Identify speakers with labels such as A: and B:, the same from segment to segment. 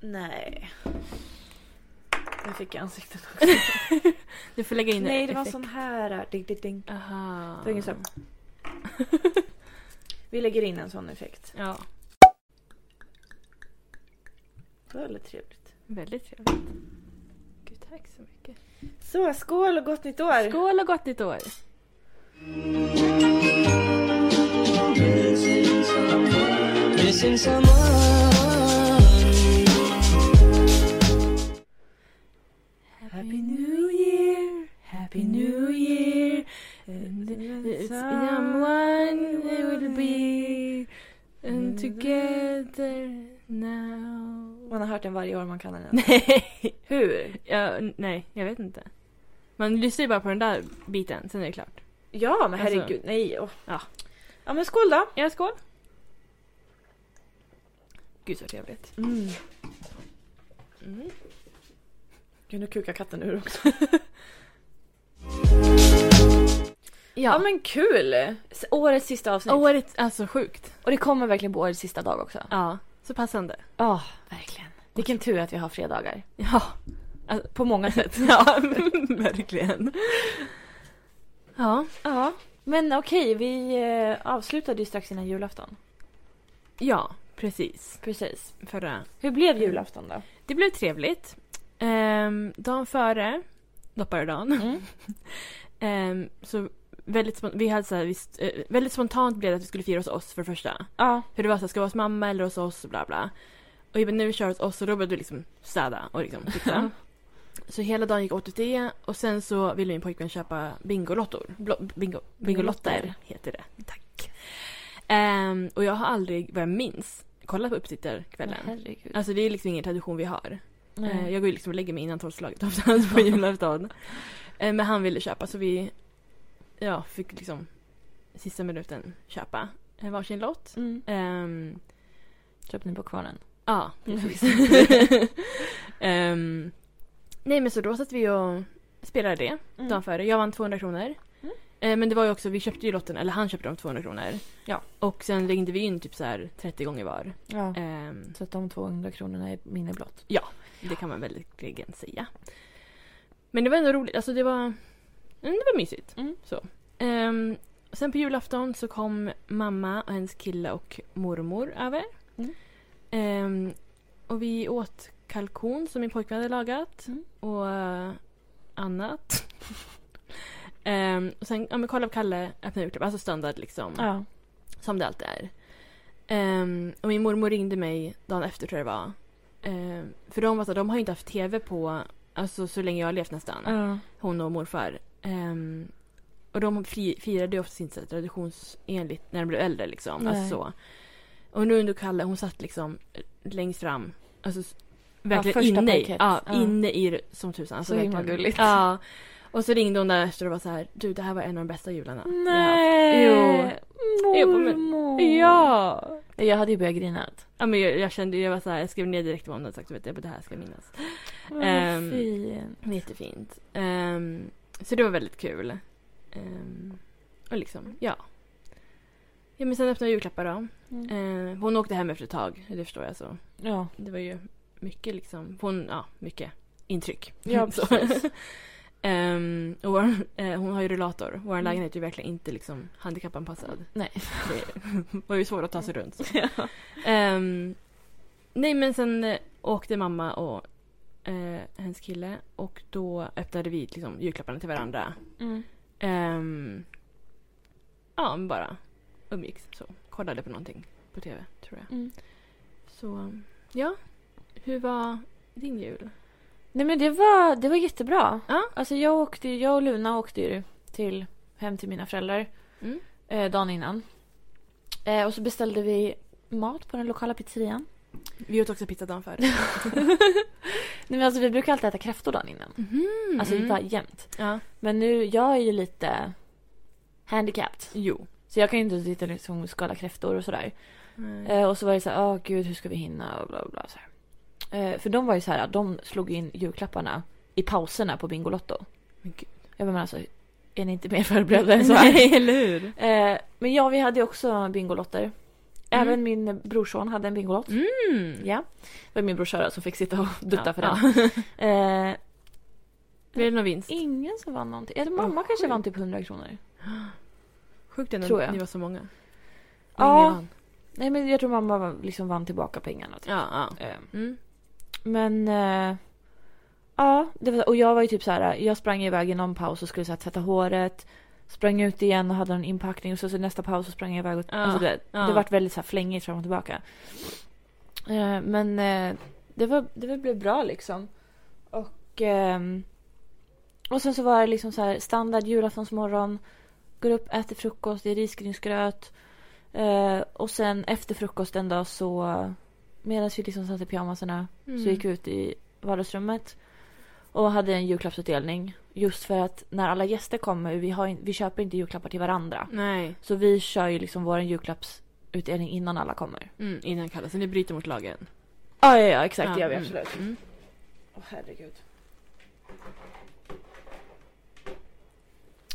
A: Nej. Nu fick jag ansiktet också.
B: Du får lägga in
A: Nej, det var en
B: effekt. Ah.
A: sån här. äh, Ding, ding, ding.
B: Aha.
A: Det var ingen sån. Vi lägger in en sån effekt.
B: Ja,
A: Det var väldigt trevligt.
B: väldigt trevligt. Gud, tack så mycket.
A: Så, skål och gott nytt år!
B: Skål och gott nytt år!
C: Missing someone.
B: Happy New Year, Happy New Year. And it's someone we will be. And together now.
A: Man har hört den varje år man kan den.
B: Nej,
A: Hur?
B: ja, nej, jag vet inte. Man lyssnar ju bara på den där biten, sen är det klart.
A: Ja, men
B: Alltså-
A: herregud. Nej. åh.
B: Ja.
A: ja, men skål då!
B: Ja, skål! Gud så trevligt.
A: Mm.
B: Mm.
A: Gud, nu kukar katten ur också. Ja,
B: Ja,
A: men kul! S- Årets sista avsnitt.
B: året, alltså sjukt.
A: Och det kommer verkligen på årets sista dag också.
B: Ja, så passande.
A: Ja, verkligen. Vilken tur att vi har fredagar.
B: Ja, Alltså,
A: På många sätt.
B: ja verkligen. Ja.
A: ja. Men okej, vi eh, avslutade ju strax innan julafton.
B: Ja, precis.
A: Precis.
B: Förra.
A: Hur blev julafton då?
B: Det blev trevligt. Ehm, dagen före, dopparedagen,
A: Mm.
B: ehm, så väldigt, spon- vi hade så här, visst, eh, väldigt spontant blev det att vi skulle fira hos oss för det första.
A: Ja.
B: För det var så här, ska vi hos mamma eller hos oss? Bla bla. Och jag bara, nu kör vi hos oss och då började vi liksom städa och liksom fixa. så hela dagen gick åt åt det och sen så ville min pojkvän köpa bingolottor. Blo- bingo, bingolotter heter det. Tack. Ehm, och jag har aldrig, vad jag minns, kollat på upptittarkvällen.
A: herregud. Mm.
B: Alltså det är liksom ingen tradition vi har.
A: Nej.
B: Eh, Jag går ju liksom och lägger mig innan tolvslaget oftast på julafton. Eh, Men han ville köpa så vi ja, fick liksom sista minuten köpa eh, varsin lott.
A: Mm.
B: Ehm,
A: Köpte ni på kvarnen?
B: Ja, precis. Ehm, nej men så då satt vi och spelade det dagen före. Jag vann 200 kronor.
A: Mm.
B: Eh, men det var ju också, vi köpte ju lotten, eller han köpte de 200 kronor.
A: Ja.
B: Och sen ringde vi in typ så här 30 gånger var.
A: Ja.
B: Ehm,
A: eh, Så att de 200 kronorna är minne blott.
B: Det kan man verkligen säga. Men det var ändå roligt. Alltså det var, mm, det var mysigt.
A: Mm.
B: Så. Ehm, sen på julafton så kom mamma och hennes kille och mormor över.
A: Mm.
B: Ehm, och vi åt kalkon som min pojkvän hade lagat.
A: Mm.
B: Och eh, annat. Ehm, och sen ja, men Karl av Kalle öppnade julklapp. Alltså standard liksom.
A: Ja.
B: Som det alltid är. Ehm, och min mormor ringde mig dagen efter tror jag det var. Ehm, för de, var så här, de har ju inte haft tv på alltså, så länge jag har levt nästan.
A: ja.
B: Hon och morfar. Ehm, och de fri, firade ju oftast inte så här traditionsenligt när de blev äldre. Liksom.
A: Nej.
B: Alltså, så. Och nu under Kalle, hon satt liksom längst fram. Alltså, s- verkligen
A: första
B: inne, i,
A: parkett.
B: ja,
A: Ja.
B: inne i det som tusan. Alltså,
A: Så himla
B: verkligen.
A: gulligt.
B: Ja. Och så ringde hon där efter och var så här, du det här var en av de bästa jularna. jag har haft."
A: Nej!
B: Jo. Jo, men-
A: Mormor!
B: Ja!
A: Jag hade ju börjat grina.
B: Ja, men jag, jag kände jag var så här, jag skrev ner direkt vad hon hade sagt. Jag vet, jag bara, det här ska jag minnas.
A: Vad
B: Ehm.
A: fin.
B: Jättefint. Um, så det var väldigt kul. Ehm, och liksom, ja. Ja men sen öppnade vi julklappar då.
A: Mm.
B: Ehm, hon åkte hem efter ett tag, det förstår jag så.
A: Ja.
B: Det var ju mycket liksom, hon, ja mycket intryck.
A: Ja,
B: Så.
A: precis.
B: Ehm, och vår, eh, hon har ju rullator. Vår
A: Mm.
B: lägenhet är ju verkligen inte liksom handikappanpassad.
A: Nej.
B: Det var ju svårt att ta sig runt. Så. Ehm, nej men sen eh, åkte mamma och eh, hennes kille och då öppnade vi liksom julklapparna till varandra.
A: Mm.
B: Ehm, ja men bara umgicks så. Kollade på någonting på tv tror jag.
A: Mm.
B: Så ja, hur var din jul?
A: Nej men det var, det var jättebra.
B: Ja.
A: Alltså jag, åkte, ju- jag och Luna åkte ju till, hem till mina föräldrar
B: Mm.
A: eh, dagen innan. Eh, och så beställde vi mat på den lokala pizzerian.
B: Vi åt också pizza dagen före.
A: Nej men alltså vi brukar alltid äta kräftor dagen innan.
B: Mhm.
A: Alltså bara jämt.
B: ja.
A: Men nu, jag är ju lite handicapped.
B: Jo.
A: Så jag kan ju inte sitta och liksom skala kräftor och sådär.
B: Mm.
A: Eh, och så var det så här, åh gud hur ska vi hinna och bla bla, bla. Så här. Eh, för de var ju så här, de slog in julklapparna i pauserna på Bingolotto.
B: Men gud.
A: Jag bara, men alltså är ni inte mer förberedda än så Eh, här?
B: Nej, eller hur?
A: Eh, men ja, vi hade ju också Bingolotter.
B: Mm.
A: Även min brorson hade en Bingolott.
B: Mm.
A: Ja. Det var min brorsa då som fick sitta och dutta
B: Ja,
A: för
B: ja.
A: den. Eh,
B: Blir det någon vinst?
A: ingen som vann någonting. Eller mamma
B: Vad
A: kanske
B: sjukt.
A: vann typ 100 kronor.
B: Sjukt ändå
A: Tror
B: att
A: jag.
B: ni var så många. Och
A: Ja.
B: ingen vann.
A: Nej men jag tror mamma var- liksom vann tillbaka pengarna. Typ.
B: Ja, ja.
A: Eh,
B: Mm.
A: Men... Eh, ja, det var, och jag var ju typ så här. Jag sprang iväg i någon paus och skulle så här, tvätta håret. Sprang ut igen och hade en inpackning och så, så nästa paus så sprang jag iväg. Och,
B: Ja,
A: alltså det,
B: ja.
A: det vart väldigt så här flängigt fram och tillbaka. Eh, men eh, det, var, det var- blev bra liksom. Och, ehm, och sen så var det liksom så här standard julaftonsmorgon. Går upp, äter frukost, det är risgrynsgröt. Eh, och sen efter frukosten då så medan vi liksom satt i pyjamasarna
B: Mm.
A: så gick vi ut i vardagsrummet och hade en julklappsutdelning. Just för att när alla gäster kommer, vi, har, in- vi köper inte julklappar till varandra.
B: Nej.
A: Så vi kör ju liksom vår julklappsutdelning innan alla kommer.
B: Mm, innan kallas. Ni bryter mot lagen.
A: Ja, ja, ja exakt.
B: Ja,
A: det gör vi
B: mm,
A: absolut.
B: Mm.
A: Åh herregud.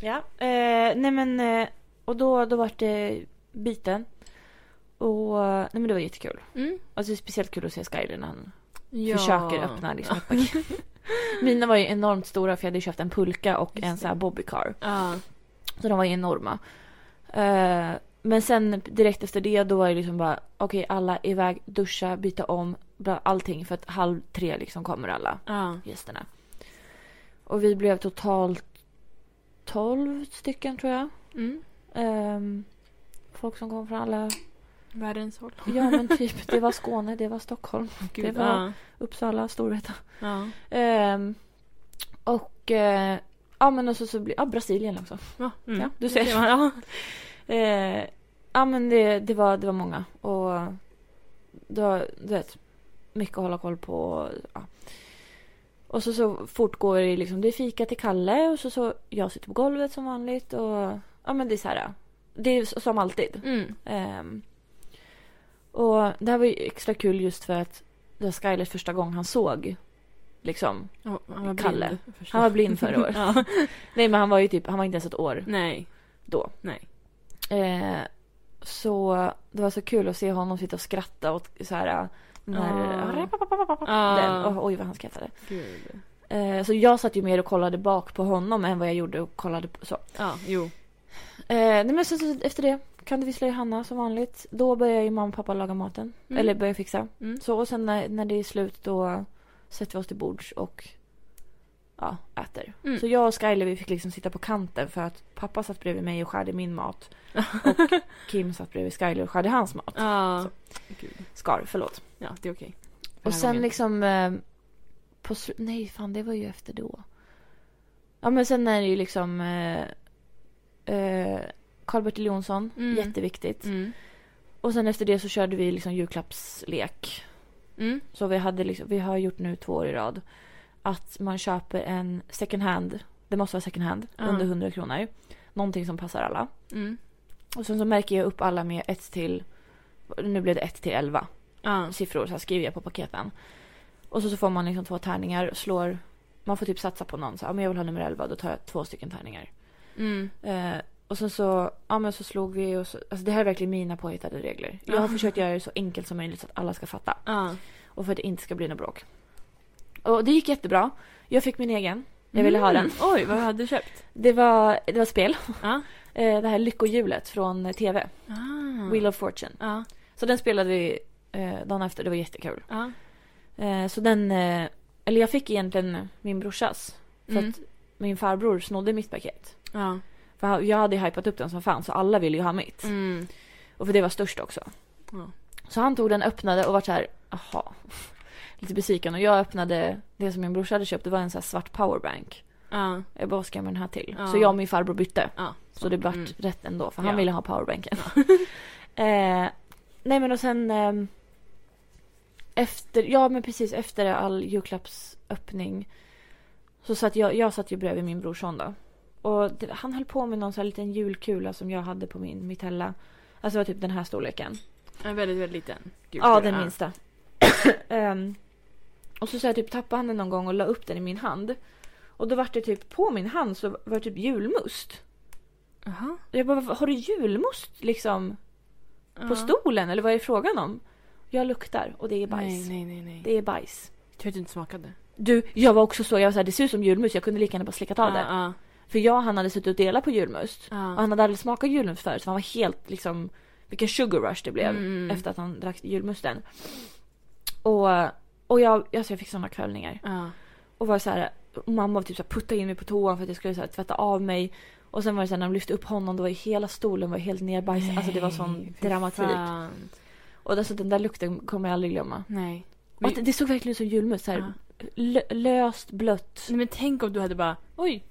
A: Ja, eh, nej men eh, och då, då var det biten. Och nej men det var jättekul.
B: Mm.
A: Alltså det är speciellt kul att se Skyler när han
B: Ja.
A: försöker öppna liksom ett paket. Mina var ju enormt stora för jag hade köpt en pulka och en sån här bobbycar.
B: Ja.
A: Så de var ju enorma. Eh, men sen direkt efter det då var det liksom bara okej alla iväg, duscha, byta om, bla, allting för att halv tre liksom kommer alla
B: Ja.
A: gästerna. Och vi blev totalt 12 stycken tror jag.
B: Mm.
A: Ehm, folk som kom från alla...
B: Världens håll.
A: Ja men typ, det var Skåne, det var Stockholm,
B: Gud,
A: Det var-
B: ja.
A: Uppsala, Storvreta.
B: Ja.
A: Ehm, och... eh, ja men och så, så blir... Ja, Brasilien också.
B: Ja. Mm.
A: Ja, du ser.
B: Det var- Ja.
A: Eh, ja men det, det, var, det var många. Och det var du vet, mycket att hålla koll på. Ja. Och så, så fortgår det liksom. Det är fika till Kalle och så, så jag sitter på golvet som vanligt. Och ja men det är så här. Det är s- som alltid.
B: Mm.
A: Ehm, och det här var ju extra kul just för att det var Skylers första gång han såg. Liksom.
B: Ja, Han var blind.
A: Kalle.
B: jag förstår.
A: Han var blind förra året.
B: ja.
A: Nej men han var ju typ, han var inte ens ett år
B: Nej.
A: då.
B: Nej.
A: Eh, så det var så kul att se honom sitta och skratta åt så här... När,
B: Ah.
A: den.
B: Ja.
A: Och, oj, vad han skrattade.
B: Gud.
A: Eh, så jag satt ju mer och kollade bak på honom än vad jag gjorde och kollade på så.
B: Ja, jo.
A: Eh, nej, men sen så, efter det kan du vissla Johanna som vanligt. Då börjar ju mamma och pappa laga maten.
B: Mm.
A: Eller börjar fixa.
B: Mm.
A: Så och sen när, när det är slut då sätter vi oss till bords och ja, äter.
B: Mm.
A: Så jag och Skyler vi fick liksom sitta på kanten för att pappa satt bredvid mig och skärde min mat. Och Kim satt bredvid Skyler och skärde hans mat.
B: Ja. Gud.
A: Skar, förlåt.
B: Ja, det är okej.
A: Och
B: Den här
A: sen
B: gången.
A: liksom eh, på sl- Nej fan det var ju efter då. Ja men sen är det ju liksom eh, eh, Karl-Bertil Jonsson,
B: Mm.
A: jätteviktigt.
B: Mm.
A: Och sen efter det så körde vi liksom julklappslek.
B: Mm.
A: Så vi, hade liksom, vi har gjort nu två år i rad. Att man köper en second hand. Det måste vara second hand.
B: Ja.
A: Under 100 kronor. Någonting som passar alla.
B: Mm.
A: Och sen så märker jag upp alla med ett till. Nu blev det ett till elva
B: Ja.
A: siffror. Så här skriver jag på paketen. Och så, så får man liksom två tärningar. Slår. Man får typ satsa på någon. Så här, "Ja, men jag vill ha nummer 11. Då tar jag två stycken tärningar.
B: Mm.
A: Eh, och sen så, ja men så slog vi och så, alltså det här är verkligen mina påhittade regler. Jag har
B: Ja.
A: försökt göra det så enkelt som möjligt så att alla ska fatta.
B: Ja.
A: Och för att det inte ska bli något bråk. Och det gick jättebra. Jag fick min egen. Jag ville ha den.
B: Mm. Oj, vad hade du köpt?
A: Det var, det var spel.
B: Ja.
A: Eh, det här lyckohjulet från TV.
B: Ah.
A: Wheel of Fortune.
B: Ja.
A: Så den spelade vi eh, dagen efter. Det var jättekul.
B: Ja.
A: Eh, så den, eh, eller jag fick egentligen min brorsas. För
B: Mm.
A: att min farbror snodde mitt paket.
B: Ja.
A: För han- jag hade ju hypat upp den som fan så alla ville ju ha mitt.
B: Mm.
A: Och för det var störst också.
B: Ja.
A: Så han tog den, öppnade och var så här, aha. Lite besviken. Och jag öppnade det som min brorsa hade köpt. Det var en så här svart powerbank.
B: Ja.
A: Jag bara, vad ska jag med den här till?
B: Ja.
A: Så jag och min farbror bytte.
B: Ja.
A: Så det vart
B: Mm.
A: rätt ändå, för han
B: Ja.
A: ville ha powerbanken. eh, nej men och sen... ehm, efter, ja men precis efter all julklappsöppning så satt jag, jag satt ju bredvid min brorson då. Och det, han höll på med någon sån här liten julkula som jag hade på min mitella. Alltså det var typ den här storleken.
B: En väldigt, väldigt liten. Gud,
A: Ja, den minsta. Ehm, och så, så här, typ tappade han den någon gång och la upp den i min hand. Och då vart det typ på min hand så var det typ julmust.
B: Jaha.
A: Jag bara, "Varför- har du julmust liksom? på stolen eller vad är det frågan om? Jag luktar och det är bajs.
B: Nej, nej, nej. nej.
A: Det är bajs.
B: Tur att du inte smakade.
A: Du, jag var också så, jag var så här, det ser ut som julmust, jag kunde lika gärna bara slickat av det.
B: Ja,
A: För jag och han hade suttit och delat på julmust. Och
B: ja.
A: han hade aldrig smakat julmust förut så han var helt liksom, vilken sugar rush det blev
B: Mm.
A: efter att han drack julmusten. Och, och jag, alltså jag fick sådana kvällningar.
B: Ja.
A: Och var så här, och mamma var typ så här, puttade in mig på toan för att jag skulle så här, tvätta av mig. Och sen var det så här, när de lyfte upp honom då var ju hela stolen var helt nerbajsad. Alltså det var sån
B: Nej, fy
A: dramatik.
B: fan.
A: Och alltså, den där lukten kommer jag aldrig glömma.
B: Nej.
A: Och att det, det såg verkligen ut som julmust. Så här,
B: Ja.
A: lö- löst, blött.
B: Nej men tänk om du hade bara, oj,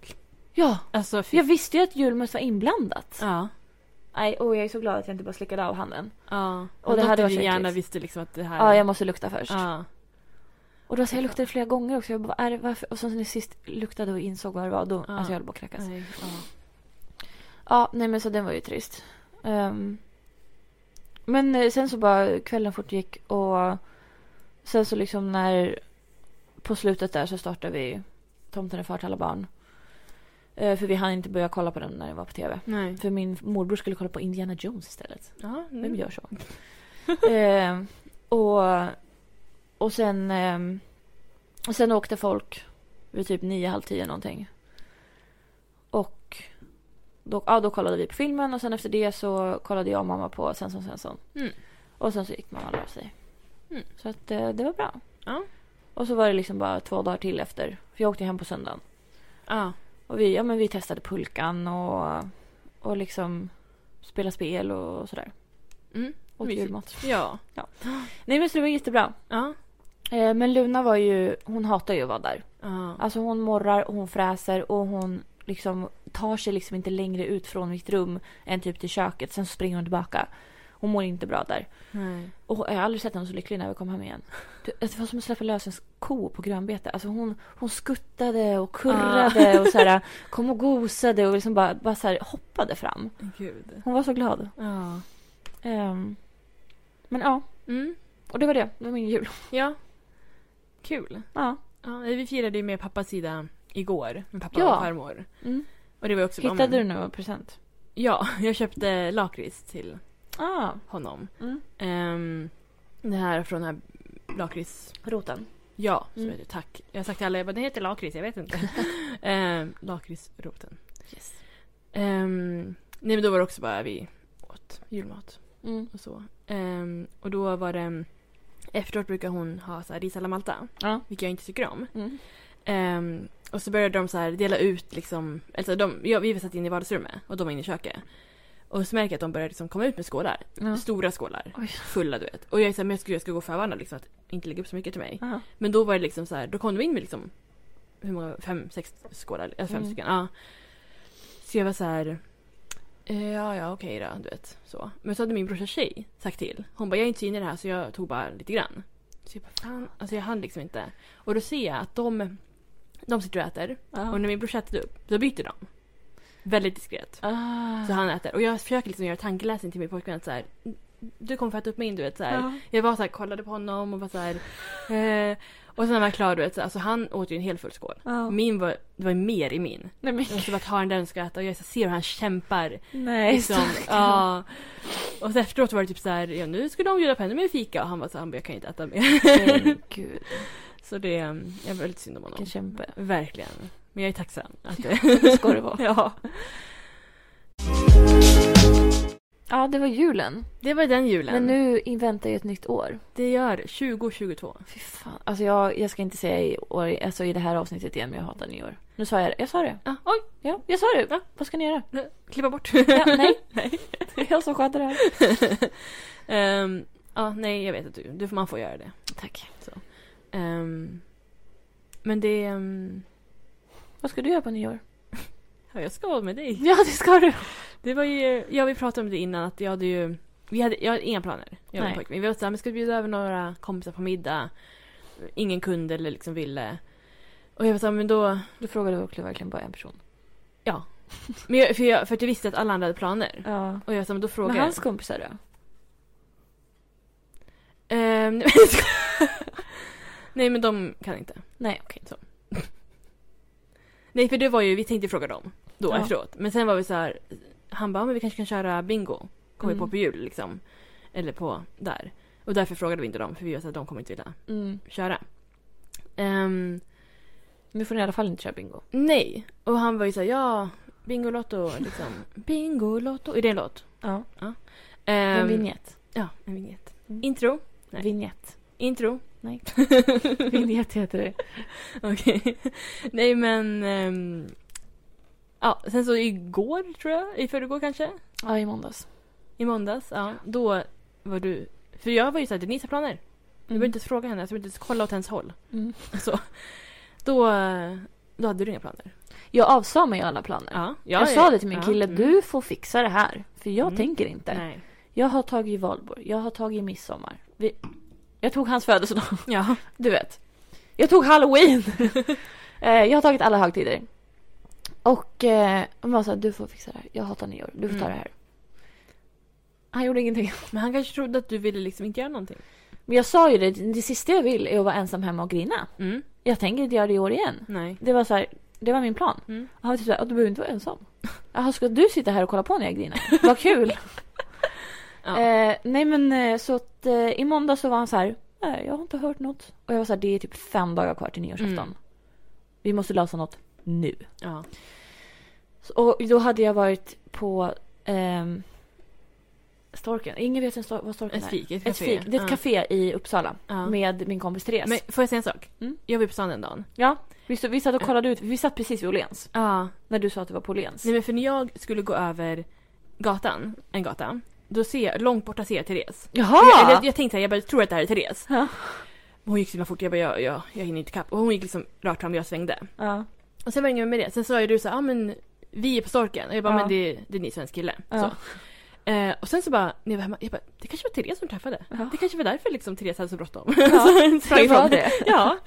A: Ja,
B: alltså fy
A: jag visste ju att julmust var inblandat.
B: Ja.
A: Nej, och jag är så glad att jag inte bara slickade av handen.
B: ja.
A: Och det
B: Något
A: hade
B: du
A: varit
B: gärna
A: äckligt.
B: visste liksom att det här...
A: Ja, jag måste lukta först.
B: Ja.
A: Och då så jag luktade flera gånger också. Jag bara, vad är det, varför? Och sen när jag sist luktade och insåg vad det var, då,
B: Ja.
A: alltså jag höll på att kräkas.
B: Nej, ja.
A: Ja, nej men så den var ju trist. Ehm, men eh, sen så bara kvällen fortgick och sen så liksom när på slutet där så startade vi Tomten är far till alla barn. Eh, för vi hann inte börja kolla på den när den var på tv.
B: Nej.
A: För min morbror skulle kolla på Indiana Jones istället.
B: Ja,
A: Vem
B: nu.
A: gör så? Ehm, och, och sen, ehm, och sen åkte folk vid typ nio, halv tio någonting. Och då, ja, då kollade vi på filmen och sen efter det så kollade jag och mamma på Svensson Svensson.
B: Mm.
A: Och sen så gick mamma och la sig.
B: Mm.
A: Så att eh, det var bra.
B: Ja.
A: Och så var det liksom bara två dagar till efter. För jag åkte hem på söndagen.
B: Ja.
A: Och vi, ja, men vi testade pulkan och, och liksom spelade spel och sådär.
B: Mm.
A: Åt
B: Mysigt.
A: julmat.
B: Ja.
A: Nej men så det var jättebra.
B: Ja.
A: Eh, men Luna var ju, hon hatar ju att vara där.
B: Ja.
A: Alltså hon morrar, hon fräser och hon liksom tar sig liksom inte längre ut från mitt rum än typ till köket. Sen springer hon tillbaka. Hon mår inte bra där.
B: Nej.
A: Och jag har aldrig sett henne så lycklig när vi kom hem igen. Du, Det var som att släppa lös en ko på grönbete. Alltså hon, hon skuttade och kurrade och så här, kom och gosade och liksom bara, bara så här hoppade fram.
B: Gud.
A: Hon var så glad.
B: Ja.
A: Ehm, men ja,
B: Mm.
A: och det var det. Det var min jul.
B: Ja. Kul.
A: Ja.
B: Ja, vi firade ju med pappas sida igår. Med pappa
A: Ja.
B: och farmor.
A: Mm.
B: Och det var ju också ja,
A: Hittade
B: men-
A: du någon present?
B: Ja, jag köpte lakrits till
A: Ah.
B: honom.
A: Mm.
B: Ehm, det här från den här lakrits...
A: Roten.
B: Ja, så
A: Mm.
B: heter det. Tack. Jag har sagt till alla, jag bara, den heter lakrits, jag vet inte. Ehm, Lakritsroten.
A: Yes.
B: Ehm, nej men då var det också bara vi åt julmat
A: Mm.
B: och så. Ehm, och då var det... Efteråt brukar hon ha så här ris alla malta,
A: Ja.
B: vilket jag inte tycker om.
A: Mm.
B: Ehm, och så började de så här dela ut liksom, alltså de, ja, vi satt inne i vardagsrummet och de var inne i köket. Och så märker jag att de började liksom komma ut med skålar,
A: Ja.
B: stora skålar,
A: Oj.
B: fulla du vet. Och jag är så här, men jag skulle, jag skulle gå och förvarna liksom att inte lägga upp så mycket till mig.
A: Ja.
B: Men då var det liksom så här, då kom de in med liksom, hur många, fem, sex skålar, alltså fem
A: Mm.
B: stycken. Ja. Så jag var så här, eh, ja ja okej då, du vet. Så. Men så hade min brorsa tjej sagt till. Hon bara, jag är inte så inne i det här så jag tog bara lite grann. Så jag bara, fan, alltså jag hann liksom inte. Och då ser jag att de, de sitter och äter. Och när min brorsa ätit upp, då byter de. Väldigt diskret.
A: Ah.
B: Så han äter. Och jag försöker liksom göra tankeläsning till min pojkvän att så här, du kommer få äta upp min, du vet så här.
A: Ja.
B: Jag var så här, kollade på honom och var så här. Eh, och sen när jag var klar, du vet, så- alltså han åt ju en hel full skål. Min var, det var ju mer i min.
A: Nej men
B: Jag måste bara ta den där den ska äta och jag ser hur han kämpar.
A: nej.
B: Liksom. Ja. Och så efteråt var det typ så här, ja nu skulle de bjuda på ännu mer fika och han var så här, han bara, jag kan ju inte äta mer.
A: Men Gud,
B: Så det, mm, jag var väldigt synd om honom.
A: vilken kämpe.
B: Verkligen. Men jag är tacksam att
A: Det ska det vara.
B: ja.
A: Ja, det var julen.
B: Det var den julen.
A: Men nu inväntar jag ett nytt år.
B: Det gör 2022.
A: Fy fan. Alltså jag, jag ska inte säga i, år, alltså i det här avsnittet igen, men jag hatar nyår. Nu sa jag det. Jag sa det.
B: Ah, oj,
A: Ja, jag sa det.
B: Ja.
A: Vad ska ni göra?
B: nu- klippa bort.
A: Ja, nej.
B: nej.
A: Det är jag som sköter det här.
B: Ehm, ja, nej, jag vet att du, du man får göra det.
A: Tack.
B: Ehm, men det... Um,
A: Vad ska du göra på nyår?
B: ja, jag ska vara med dig.
A: Ja, det ska du.
B: Det var ju, ja vi pratade om det innan att jag hade ju, vi hade, jag hade inga planer. Jag och
A: Nej.
B: min pojkvän. Vi var såhär, men ska vi bjuda över några kompisar på middag? Ingen kunde eller liksom ville. Och jag var såhär, men då,
A: Du frågade också verkligen bara en person.
B: men jag, för, jag, för att jag visste att alla andra hade planer.
A: Ja.
B: Och jag var såhär, men då frågade
A: Men
B: jag.
A: hans kompisar då?
B: Ehm, nej, men- nej men de kan inte.
A: Nej, okej.
B: Nej för det var ju, vi tänkte fråga dem då
A: Ja.
B: efteråt. Men sen var vi så här, han bara, "Ja, men vi kanske kan köra bingo. Kom vi
A: Mm.
B: på på jul liksom. Eller på där. Och därför frågade vi inte dem för vi visste att de kommer inte vilja
A: Mm.
B: köra. Ehm,
A: Nu får ni i alla fall inte köra bingo.
B: nej. Och han var ju såhär ja, Bingolotto liksom. Bingolotto. Är det en låt?
A: Ja.
B: Ehm,
A: En vignett.
B: Ja, en vignett.
A: Mm.
B: Intro. nej.
A: Vignett.
B: Intro.
A: Nej. vignett heter det.
B: Okej. Nej men... ehm, ja, sen så igår tror jag, i förrgår kanske?
A: Ja, i måndags.
B: I måndags, ja. Då var du... För jag var ju såhär, Denise har planer. Jag behöver inte ens fråga henne, jag behöver inte ens kolla åt hennes håll.
A: Mm.
B: Så, då, eh, då hade du inga planer.
A: Jag avsade mig alla planer.
B: Ja,
A: jag sa det till min
B: ja,
A: kille,
B: mm,
A: du får fixa det här. För jag
B: Mm.
A: tänker inte.
B: Nej.
A: Jag har tagit valborg, jag har tagit midsommar. Vi... Jag tog hans födelsedag,
B: Ja.
A: du vet. Jag tog halloween! Eh, jag har tagit alla högtider. Och eh, han var såhär, du får fixa det här. Jag hatar nyår, du får ta
B: Mm.
A: det här. Han gjorde ingenting.
B: Men han kanske trodde att du ville liksom inte göra någonting.
A: Men jag sa ju det, det sista jag vill är att vara ensam hemma och grina.
B: Mm.
A: Jag tänker inte göra det i år igen.
B: Nej.
A: Det var så här, det var min plan.
B: Mm.
A: Han var typ såhär, du behöver inte vara ensam. Jaha, ska du sitta här och kolla på när jag grinar? Vad kul!
B: Ja.
A: eh, nej men eh, så att eh, i måndag så var han så här, nej jag har inte hört något. Och jag var så här, det är typ fem dagar kvar till nyårsafton.
B: Mm.
A: Vi måste lösa något nu.
B: ja.
A: Så, och då hade jag varit på ehm, Storken. Ingen vet ens vad Storken
B: Ett
A: är.
B: fik, ett
A: Ett
B: café.
A: fik. Det är ett
B: Ja.
A: café i Uppsala
B: Ja.
A: med min kompis Therese.
B: Men får jag säga en sak?
A: Mm.
B: Jag var på stan den dagen.
A: Ja, vi, stod- vi satt och kollade ut. Vi satt precis vid Åhléns.
B: Ja.
A: När du sa att du var på Åhléns.
B: Nej men för när jag skulle gå över gatan, en gata, då ser jag, långt borta ser jag Therese.
A: Jaha!
B: Jag, jag, jag tänkte såhär, jag bara, tror att det här är Therese.
A: Ja.
B: Hon gick så himla fort, jag bara, jag, jag, jag hinner inte kapp. Och hon gick liksom rakt fram och jag svängde.
A: Ja.
B: Och sen var det inget med det. Sen sa ju du så här, ah, men vi är på storken. Och jag bara,
A: Ja.
B: men det, det är ni svensk kille.
A: Ja.
B: Så. Eh, och sen så bara, när jag var hemma, jag bara, det kanske var Therese som träffade.
A: Ja.
B: Det kanske var därför liksom Therese hade så bråttom.
A: Ja,
B: Så sprang
A: Det var
B: ifrån.
A: det.
B: Ja.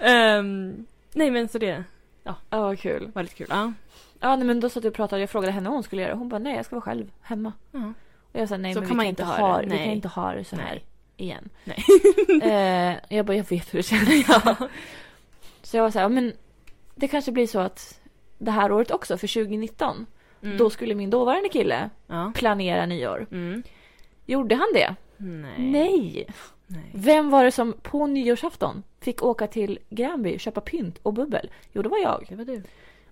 B: Ehm, nej men så det
A: Ja, vad kul.
B: var lite kul. Ja.
A: Ja, nej, men då satt vi och pratade. Jag frågade henne vad hon skulle göra. Hon bara, nej jag ska vara själv hemma.
B: Ja.
A: Och jag sa, nej
B: Så
A: men vi,
B: kan man
A: kan
B: inte
A: inte
B: ha
A: ha,
B: det.
A: vi kan
B: Nej.
A: inte ha det så här
B: Nej.
A: igen.
B: Nej.
A: eh, jag bara, jag vet hur det känns. Så jag var så här, ja, men det kanske blir så att det här året också, för 2019,
B: Mm.
A: då skulle min dåvarande kille
B: ja.
A: planera nyår.
B: Mm.
A: Gjorde han det?
B: Nej.
A: Nej.
B: Nej.
A: Vem var det som på nyårsafton fick åka till Gränby, köpa pynt och bubbel? Jo, det var jag.
B: Det var du.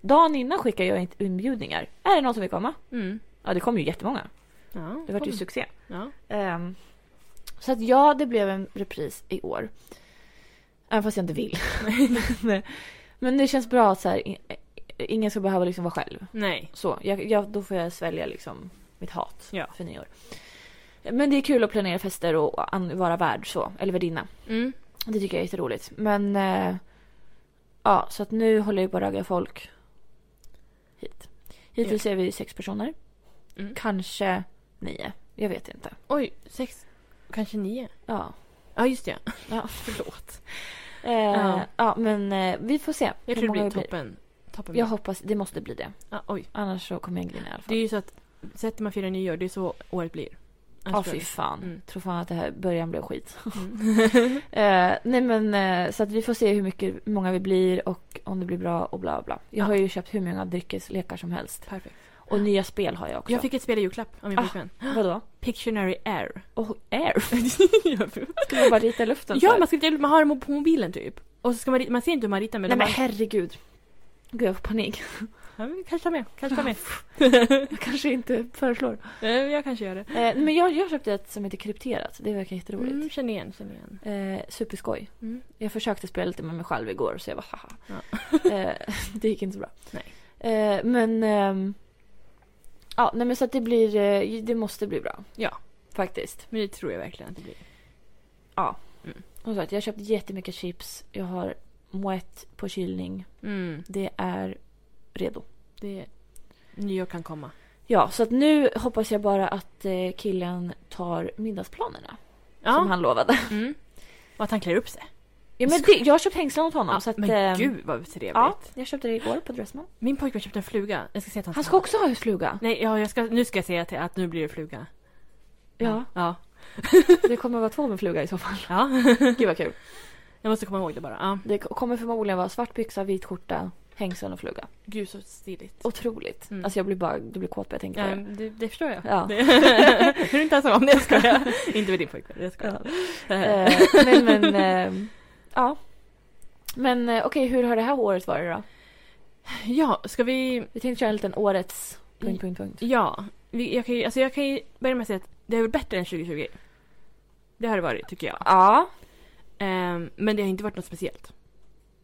A: Dagen innan skickade jag in inbjudningar. Är det någon som vill komma?
B: Mm.
A: Ja, det kom ju jättemånga.
B: Ja.
A: Det var ju
B: kom.
A: succé.
B: Ja.
A: Ehm, så att ja, det blev en repris i år. Även fast jag inte vill. men, men det känns bra att så här, i- ingen ska behöva liksom vara själv.
B: Nej.
A: Så, jag, jag, då får jag svälja liksom mitt hat
B: Ja.
A: för nyår. Men det är kul att planera fester och an, vara värd så, eller värdinna.
B: Mm.
A: Det tycker jag är jätteroligt. Men eh, ja, så att nu håller jag på att ragga folk hit. Hittills är vi sex personer.
B: Mm.
A: Kanske nio. Jag vet inte.
B: Oj, sex, kanske nio.
A: Ja,
B: Ja just det.
A: Ja.
B: Förlåt.
A: eh,
B: Ja.
A: ja. men eh, vi får se. hur
B: Jag tror det
A: många
B: blir toppen. toppen
A: Jag hoppas, det måste bli det.
B: ja, oj.
A: Annars så kommer jag grina i alla
B: Det är
A: fall.
B: ju så att sätter man firar nyår, det är så året blir.
A: Ja, fy fan.
B: Mm.
A: Tror fan att det här början blev skit.
B: Mm.
A: Eh, nej men eh, så att vi får se hur mycket, hur många vi blir och om det blir bra och bla bla. Jag
B: Ja.
A: har ju köpt hur många dryckeslekar som helst.
B: Perfekt.
A: Och nya spel har jag också.
B: Jag fick ett spel i julklapp av min
A: Ah.
B: pojkvän.
A: Vadå?
B: Pictionary Air.
A: Och air.
B: ja,
A: Ska man bara rita i luften?
B: ja
A: för?
B: man, skriver, man har dem på mobilen typ. Och så ska man, rita- man ser inte hur man ritar men,
A: Nej men
B: man,
A: herregud. Gud jag får panik.
B: ja, men kanske ta med. Kanske ta med.
A: Jag kanske inte föreslår.
B: Eh, jag kanske gör det.
A: Eh, nej, men jag, jag köpte ett som heter krypterat. Det verkar jätteroligt.
B: Mm, känner igen, känner igen.
A: Eh, superskoj.
B: Mm.
A: Jag försökte spela lite med mig själv igår så jag var haha.
B: Ja.
A: eh, det gick inte så bra.
B: Nej.
A: Eh, men... ehm, ja, nej men så att det blir... eh, Det måste bli bra.
B: Ja.
A: Faktiskt.
B: Men det tror jag verkligen att det blir.
A: Som sagt, jag har köpt jättemycket chips. Jag har moët på kylning.
B: Mm,
A: Det är redo.
B: det, nyår kan komma.
A: Ja, så att nu hoppas jag bara att eh, killen tar middagsplanerna.
B: Ja.
A: Som han lovade.
B: Mm. Och att han klär upp sig.
A: Ja, men det, jag har köpt hängslen åt honom.
B: Ja,
A: så att,
B: men
A: ehm,
B: gud vad trevligt.
A: Ja, jag köpte det igår på Dressman.
B: Min pojkvän köpte en fluga. Jag ska se att han,
A: Han ska också ha husfluga.
B: Nej, ja, jag ska, nu ska jag säga till att nu blir det fluga.
A: Ja,
B: Ja.
A: det kommer vara två med fluga i så fall.
B: ja.
A: Gud vad kul.
B: jag måste komma ihåg det bara. Ja.
A: Det kommer förmodligen vara svart byxa, vit skjorta, hängslen och fluga.
B: Gud så stiligt.
A: Otroligt.
B: Mm.
A: Alltså jag blir bara, du blir kåt bara jag tänker på
B: Ja,
A: det.
B: det, det förstår jag.
A: Ja.
B: Det, hur är du inte ensam om det? Jag skojar. inte med din pojkvän, jag skojar.
A: Eh, nej men, eh, ja. Men eh, okej, hur har det här året varit då?
B: Ja, ska vi...
A: Vi tänkte köra en liten årets... Punkt, punkt, punkt.
B: Ja. Vi, jag, kan ju, alltså jag kan ju börja med att säga att det har varit bättre än 2020. Det har det varit, tycker jag.
A: Ja.
B: Ehm, men det har inte varit något speciellt. Alltså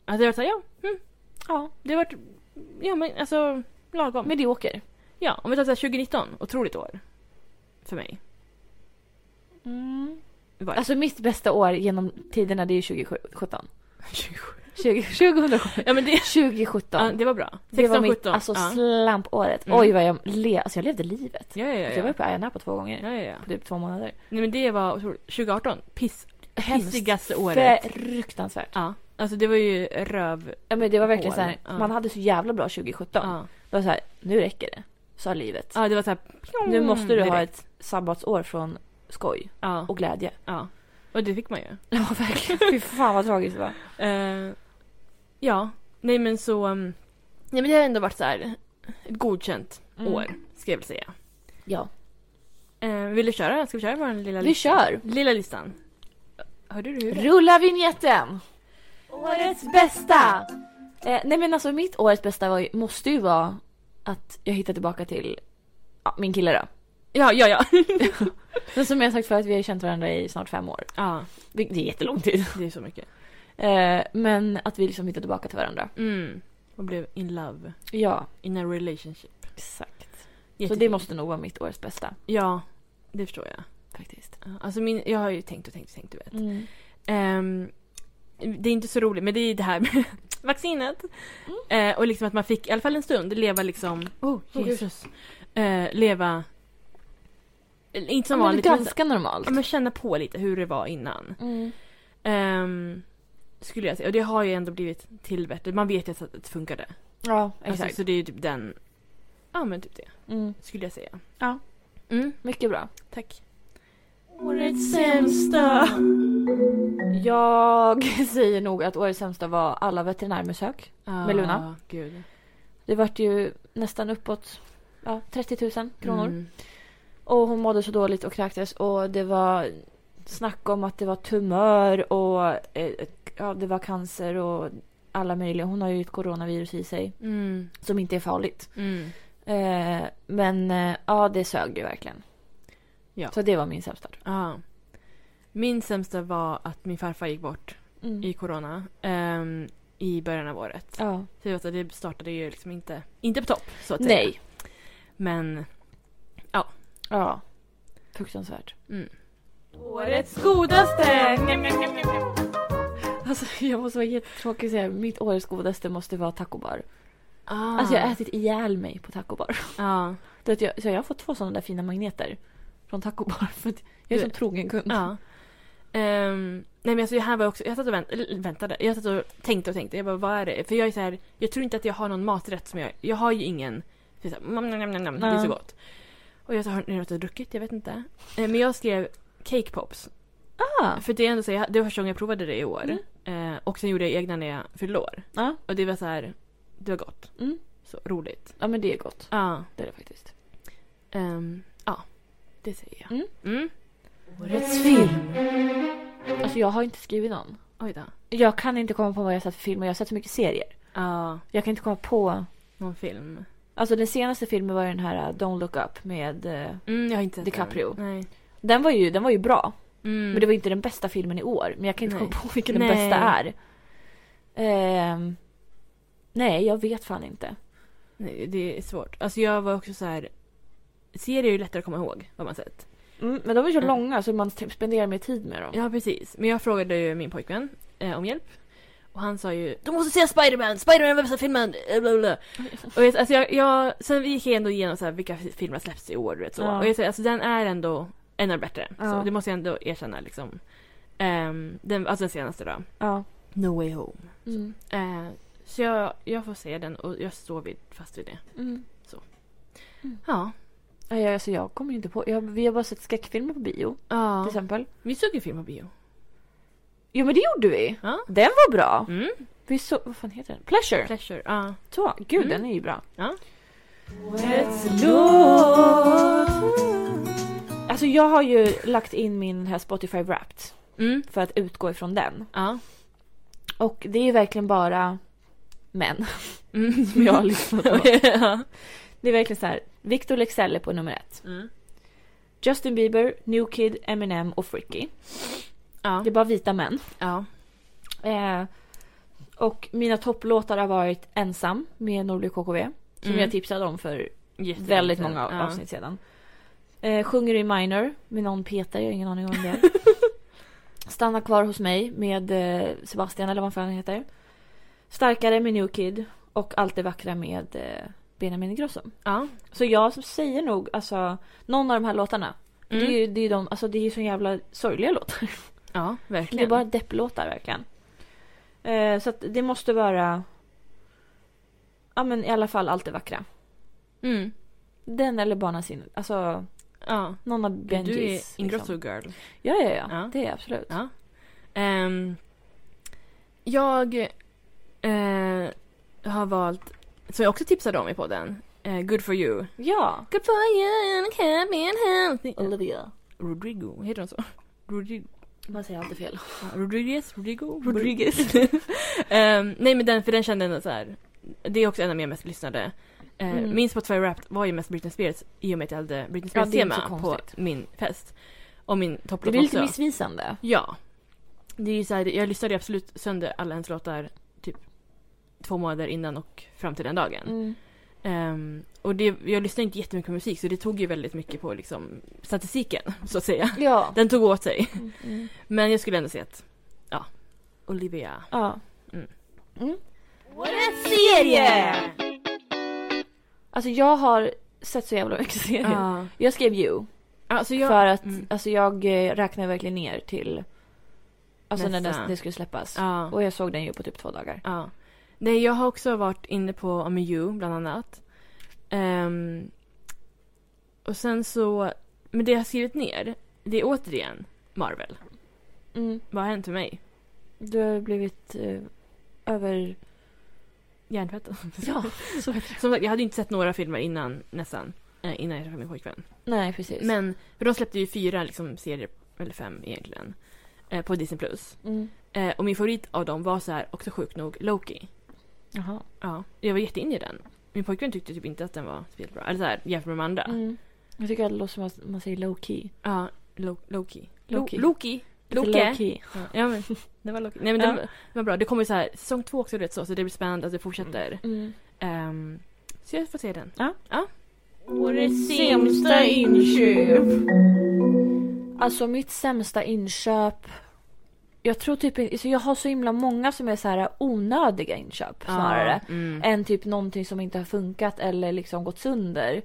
B: det har varit såhär, ja. Mm, ja, det har varit... Ja men alltså, lagom.
A: Medioker.
B: Ja, om vi tar så här 2019, otroligt år. För mig.
A: Mm.
B: Var det.
A: Alltså mitt bästa år genom tiderna det är ju 2017.
B: 27.
A: 20, 2017.
B: Ja men det,
A: 2017.
B: ja, det var bra. 16,
A: det var mitt
B: 17.
A: alltså,
B: ja.
A: slampåret.
B: Mm.
A: Oj vad jag le, alltså jag levde livet.
B: ja, ja, ja,
A: Alltså, Jag var
B: ja.
A: ju på Ayia två gånger.
B: ja, ja, ja.
A: På typ två månader.
B: Nej men det var otroligt. 2018, piss,
A: Hemskt.
B: pissigaste året.
A: Fruktansvärt.
B: Ja. Alltså det var ju röv...
A: Ja, men det var verkligen
B: År,
A: så här,
B: ja.
A: man hade så jävla bra 2017.
B: Ja.
A: Det var så här, nu räcker det, sa livet. Mm.
B: ja, det var såhär...
A: Nu måste du ha
B: direkt.
A: ett sabbatsår från skoj
B: Ja.
A: och glädje.
B: ja. Och det fick man ju.
A: Ja, verkligen. Fy fan vad tragiskt det var.
B: Eh, ja, nej men så... um, Nej men det har ändå varit så här ett godkänt
A: Mm.
B: år, ska jag väl säga.
A: Ja.
B: Eh, vill du köra? Ska vi köra vår lilla
A: Vi kör!
B: Lilla listan. Hörde du hur det?
A: Rulla vignetten! Årets bästa! Eh, nej men alltså mitt årets bästa var ju, måste ju vara att jag hittade tillbaka till ja, min kille då.
B: Ja, ja, ja.
A: Men som jag sagt förut, vi har ju känt varandra i snart fem år.
B: ja,
A: Det det är jättelång tid.
B: det är så mycket.
A: Eh, men att vi liksom hittade tillbaka till varandra.
B: Mm. Och blev in love.
A: Ja,
B: In a relationship.
A: exakt. Så
B: Jättefint.
A: det måste nog vara mitt årets bästa
B: Ja, det förstår jag.
A: faktiskt.
B: Ja, Alltså min, jag har ju tänkt och tänkt och tänkt, du vet.
A: Mm.
B: Ehm, det är inte så roligt, men det är det här med vaccinet.
A: Mm.
B: Eh, och liksom att man fick, i alla fall en stund, leva liksom... Oh, Jesus. Eh, leva... eh, Inte
A: Ja,
B: som
A: men
B: vanligt, men,
A: ganska normalt.
B: ja, men känna på lite hur det var innan.
A: Mm.
B: Ehm, skulle jag säga. Och det har ju ändå blivit till bättre. Man vet ju att det funkade.
A: Ja, exakt.
B: Alltså, så det är ju typ den... Ja men typ det,
A: Mm.
B: skulle jag säga.
A: Ja.
B: Mm,
A: Mycket bra.
B: tack.
A: Årets sämsta! Jag säger nog att årets sämsta var alla veterinärbesök.
B: Ah,
A: Luna.
B: Gud.
A: Det vart ju nästan uppåt ja, 30 000 kronor.
B: Mm.
A: Och hon mådde så dåligt och kräktes och det var snack om att det var tumör och eh, ja, det var cancer och alla möjliga. Hon har ju ett coronavirus i sig
B: Mm.
A: som inte är farligt.
B: Mm.
A: Eh, men eh, ja, det sög ju verkligen.
B: Ja.
A: Så det var min sämsta. tror
B: Ja. Min sämsta var att min farfar gick bort
A: jag. Mm.
B: i corona ehm, i början av året.
A: Ja.
B: Så jag vet att det startade ju liksom inte, inte på topp så att säga.
A: Nej.
B: Men
A: Ja. Fruktansvärt.
B: mm.
A: Årets godaste! Alltså jag måste vara jättetråkig och säga mitt årets godaste måste vara tacobar.
B: ah.
A: Alltså jag har ätit ihjäl mig på tacobar.
B: Ja.
A: Du vet, jag, så jag har fått två sådana där fina magneter från Taco Bar för att jag är
B: Du-
A: så trogen kund.
B: ja. Ehm, nej men alltså det här var också, jag satt och vänt, eller väntade, jag satt och tänkte och tänkte. Jag bara vad är det? För jag är så här, jag tror inte att jag har någon maträtt som jag, jag har ju ingen, så här, nam, nam, nam, nam, nam, det är
A: Ja.
B: så gott. Och jag sa, har ni något att druckit? Jag vet inte. Eh, men jag skrev cake pops
A: Ah,
B: För det är ändå så, jag, det var första gången jag provade det i år.
A: Mm.
B: Eh, och sen gjorde jag egna när jag fyllde år.
A: Ja.
B: Och det var så här, det var gott.
A: Mm.
B: Så roligt.
A: ja men det är gott.
B: Ja.
A: Det är det faktiskt.
B: Ehm, ja, det säger jag.
A: Mm.
B: Mm.
A: Årets film. Alltså jag har inte skrivit någon.
B: Oj då.
A: Jag kan inte komma på vad jag har sett för filmer. Jag har sett så mycket serier.
B: Ja,
A: Jag kan inte komma på.
B: någon film.
A: Alltså den senaste filmen var ju den här eh, Don't look up med... eh,
B: Mm, jag har inte sett
A: DiCaprio.
B: Den. Nej.
A: Den var ju, den var ju bra.
B: Mm.
A: Men det var ju inte den bästa filmen i år. Men jag kan inte
B: Nej.
A: komma på vilken den
B: Nej.
A: bästa är. Ehm, nej, jag vet fan inte.
B: Nej, det är svårt. Alltså jag var också så här, serier är ju lättare att komma ihåg vad man sett.
A: Mm, men de är så
B: Mm.
A: långa så man typ spenderar mer tid med dem.
B: Ja, precis. Men jag frågade ju min pojkvän eh, om hjälp. Och han sa ju Du måste se Spiderman! Spiderman är den bästa filmen! eh, Bla bla. bla." och jag, alltså jag, jag, sen gick jag ändå igenom så här, vilka fi- filmer som släpps i år. Du vet, så.
A: Ja.
B: Och jag, säger, alltså, den är ändå en av de bättre.
A: Ja.
B: Så, det måste jag ändå erkänna. Liksom. Ehm, den, alltså den senaste då.
A: Ja.
B: No Way Home.
A: Mm.
B: Eh, så jag, jag får se den och jag står vid, fast vid det.
A: Mm.
B: Ja.
A: Nej, jag- Alltså, jag kommer ju inte på. Jag, vi har bara sett skräckfilmer på bio till
B: ja.
A: exempel.
B: Vi såg en film på bio.
A: Jo men det gjorde vi.
B: Ja.
A: Den var bra.
B: Mm.
A: Vi så, vad fan heter den? Pleasure.
B: Pleasure. Ja.
A: Så, gud
B: Mm.
A: den är ju bra.
B: Ja.
A: Alltså jag har ju lagt in min här Spotify Wrapped
B: Mm.
A: för att utgå ifrån den.
B: Ja.
A: Och det är ju verkligen bara män
B: Mm.
A: som jag har lyssnat på.
B: Okej, ja.
A: Det är verkligen så här. Victor Leksell är på nummer ett.
B: Mm.
A: Justin Bieber, New Kid, Eminem och Fricky.
B: Ja.
A: Det är bara vita män.
B: Ja.
A: Eh, och mina topplåtar har varit Ensam med Norlie KKV. Som
B: Mm.
A: jag tipsade om för
B: Jättelänge
A: väldigt
B: sedan.
A: många
B: ja.
A: avsnitt sedan. Eh, sjunger i minor med någon Peter, jag har ingen aning om det. Stanna kvar hos mig med eh, Sebastian eller vad fan han heter. Starkare med New Kid och Allt det vackra med eh, Benjamin Ingrosso.
B: Ja.
A: Så jag som säger nog alltså någon av de här låtarna.
B: Mm.
A: Det är ju det är ju de, alltså det är ju så jävla sorgliga låtar.
B: ja, verkligen.
A: Det är bara depplåtar verkligen. Eh, så att det måste vara ja men i alla fall Allt det vackra.
B: Mm.
A: Den eller Barnasin, alltså
B: Ja. liksom.
A: någon av
B: Du är
A: Benjis. liksom.
B: Ingrosso girl.
A: Ja, ja, ja,
B: Ja.
A: Det är jag absolut.
B: Ja. Ehm, jag eh, har valt, som jag också tipsade om i podden, eh, Good for you.
A: Ja.
B: Good for you and can't be healthy.
A: Olivia.
B: Rodrigo, heter hon så? Rodrigo.
A: Man säger alltid fel.
B: Ja, Rodriguez? Rodrigo? Rodriguez. Ehm, nej men den, för den kände jag ändå så här. Det är också en av mina mest lyssnade. Eh,
A: Mm.
B: Min Spotify Wrapped var ju mest Britney Spears i och med att jag hade Britney
A: Ja, det är inte
B: Spears-tema
A: så
B: på
A: konstigt.
B: min fest. Och min
A: Det
B: topplåt
A: blir lite
B: också.
A: missvisande.
B: ja. Det är ju så här, jag lyssnade ju absolut sönder alla hennes låtar typ två månader innan och fram till den dagen.
A: Mm.
B: Ehm, och det, jag lyssnade inte jättemycket på musik så det tog ju väldigt mycket på liksom, statistiken så att säga.
A: Ja.
B: Den tog åt sig.
A: Mm, mm.
B: Men jag skulle ändå säga att, ja, Olivia.
A: ja.
B: Mm.
A: Mm.
B: Årets
A: Alltså jag har sett så jävla mycket serier.
B: Ja.
A: Jag skrev You.
B: Alltså jag...
A: För att
B: Mm.
A: alltså jag eh, räknar verkligen ner till alltså när
B: Nästa.
A: den, det skulle släppas.
B: Ja.
A: Och jag såg den ju på typ två dagar.
B: ja. Nej, jag har också varit inne på Ami You bland annat. Ehm, och sen så, men det jag har skrivit ner, det är återigen Marvel.
A: Mm.
B: Vad har hänt med mig?
A: Du har blivit eh, över...
B: Hjärntvätten.
A: Ja, så heter
B: Som sagt, jag hade ju inte sett några filmer innan nästan. eh, Innan jag träffade min pojkvän.
A: Nej, precis.
B: Men, för de släppte ju fyra liksom, serier, eller fem egentligen, eh, på Disney+. Plus.
A: Mm.
B: Eh, och min favorit av dem var så här, också sjukt nog, Loki.
A: Jaha.
B: Ja, jag var jätteinne i den. Min pojkvän tyckte typ inte att den var speciellt bra. Eller så här, jämfört med de andra.
A: Mm. Jag tycker att det låter som att man säger low key.
B: Ja, Lo- Loki.
A: Loki.
B: Lo- Loki.
A: Lite
B: Loki.
A: Low key.
B: Ja, men det var Loki. Nej men den,
A: Ja.
B: var- den var bra. Det kommer ju så här, säsong två också du vet så, så det blir spännande att det fortsätter.
A: Mm.
B: Ehm, så jag får se den.
A: Ja.
B: ja.
A: Årets sämsta inköp. Alltså mitt sämsta inköp. Jag tror typ in- så jag har så himla många som är så här onödiga inköp snarare.
B: Ja, mm.
A: Än typ någonting som inte har funkat eller liksom gått sönder.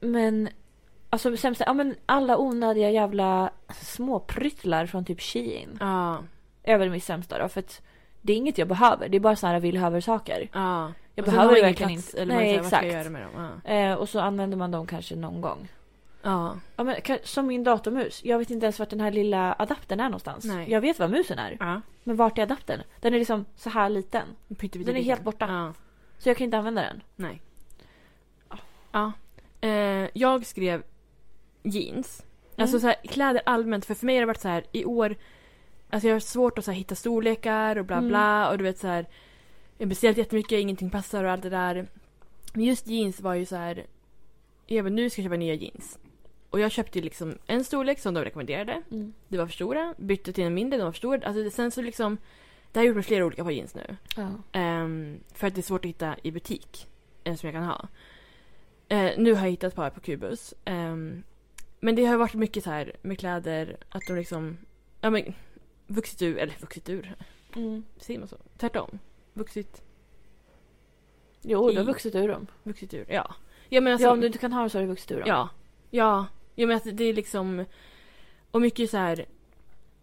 A: Men alltså sämsta, ja men alla onödiga jävla småpryttlar från typ Shein.
B: Ja,
A: Är väl mitt sämsta då för att det är inget jag behöver. Det är bara såna här vill ha saker.
B: ja.
A: Jag
B: Och sen
A: behöver
B: har
A: det
B: ingen
A: verkligen
B: plats,
A: inte.
B: Eller
A: Nej,
B: Nej, exakt. Vad ska
A: exakt.
B: jag göra med dem? Ja.
A: Eh, och så använder man dem kanske någon gång.
B: ja.
A: Ja, men, ka- som min datormus. Jag vet inte ens vart den här lilla adaptern är någonstans.
B: Nej.
A: Jag vet var musen är.
B: ja.
A: Men vart är adaptern? Den är liksom så här liten.
B: En pytteliten
A: Den är
B: liten.
A: helt borta.
B: Ja.
A: Så jag kan inte använda den.
B: Nej.
A: Ah.
B: Ja. Eh, jag skrev jeans. Alltså
A: Mm.
B: så här, kläder allmänt. För för mig har det varit så här i år. Alltså jag har svårt att så här, hitta storlekar och bla
A: Mm.
B: bla. Och du vet så här. Jag har beställt jättemycket, ingenting passar och allt det där. Men just jeans var ju så här. Jag bara, nu ska jag köpa nya jeans. Och jag köpte ju liksom en storlek som de rekommenderade.
A: Mm.
B: Det var för stora. Bytte till en mindre, de var för stora. Alltså sen så liksom. Det har jag gjort med flera olika par jeans nu.
A: Ja.
B: Ehm, för att det är svårt att hitta i butik. eh, som jag kan ha. Eh, nu har jag hittat ett par på Kubus. Ehm, men det har varit mycket så här med kläder. Att de liksom... Ja men, vuxit ur. Eller vuxit ur.
A: Mm.
B: Säger man så? Tvärtom. Vuxit,
A: Jo, du har
B: I-
A: vuxit ur dem.
B: vuxit ur. Ja. Ja men alltså,
A: ja, om du inte kan ha dem så har du vuxit ur dem.
B: Ja. Ja. Ja men att det är liksom... Och mycket så här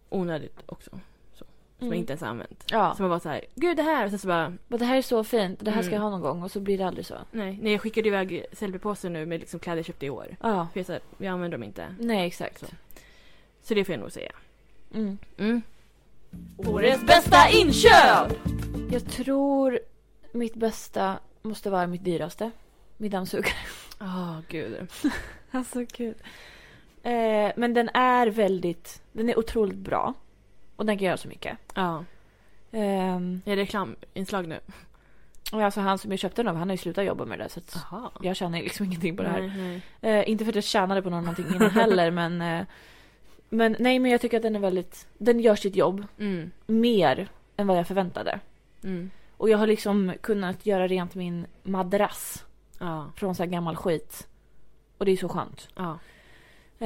B: onödigt också. Som
A: Mm.
B: jag inte ens har använt.
A: Ja,
B: Som har varit så här, gud det här! Och sen så bara,
A: men det här är så fint. Det här ska
B: Mm.
A: jag ha någon gång och så blir det aldrig så.
B: nej. Nej jag skickade iväg selfiepåsen nu med liksom kläder jag köpte i år.
A: Ja,
B: För jag, så här, jag använder dem inte.
A: nej exakt.
B: Så det får jag nog säga.
A: Mm.
B: Mm. bästa inköp!
A: Jag tror mitt bästa måste vara mitt dyraste. Min dammsugare.
B: Åh gud.
A: Alltså gud. Eh, men den är väldigt, den är otroligt bra. Och den kan göra så mycket.
B: Ja.
A: Ehm,
B: Är det reklaminslag nu?
A: och alltså han som jag köpte den av, han har ju slutat jobba med det där. Så att
B: Jaha.
A: jag tjänar ju liksom ingenting på det här.
B: Nej, nej.
A: Eh, inte för att jag tjänade på någonting innan heller men, eh, men nej men jag tycker att den är väldigt, den gör sitt jobb
B: Mm.
A: mer än vad jag förväntade.
B: Mm.
A: Och jag har liksom kunnat göra rent min madrass
B: Ja.
A: från så här gammal skit. Och det är så skönt.
B: Ja.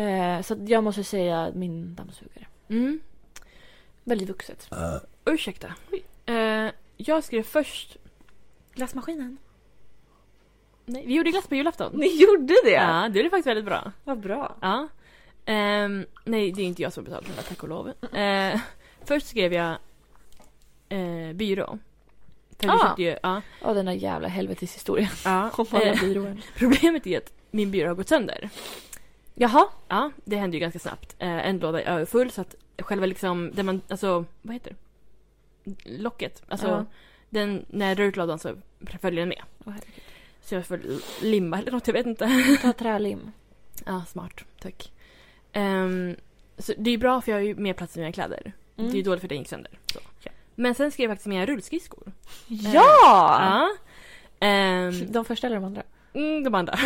A: Eh, så att jag måste säga min dammsugare.
B: Mm.
A: Väldigt vuxet.
B: Ursäkta. Eh, jag skrev först...
A: Glassmaskinen.
B: Nej, vi gjorde glass på julafton.
A: Ni gjorde det?
B: Ja, det är faktiskt väldigt bra.
A: Vad bra.
B: Ja. Ehm, nej, det är inte jag som betalar för det, tack och lov. Eh, först skrev jag eh, byrå. För vi
A: Ah.
B: köpte ju, ja.
A: Ja, den där jävla helveteshistorien
B: ja.
A: om alla
B: Eh,
A: byråer.
B: problemet är att min byrå har gått sönder.
A: Jaha.
B: Ja, det hände ju ganska snabbt. Eh, en låda är överfull så att själva liksom, där man, alltså, vad heter det? Locket. Alltså,
A: Ja.
B: den, när jag drar ut lådan så följer den med.
A: Åh, herregud.
B: Så jag får limma eller något, jag vet inte.
A: Ta trälim.
B: Ja, smart. Tack. Ehm, så det är ju bra för jag har ju mer plats i mina kläder.
A: Mm.
B: Det är ju dåligt för det gick sönder. Så.
A: Ja.
B: Men sen skrev jag faktiskt mina rullskridskor. Eh,
A: Ja!
B: Ja. Ehm,
A: De första eller de andra?
B: mm, de andra.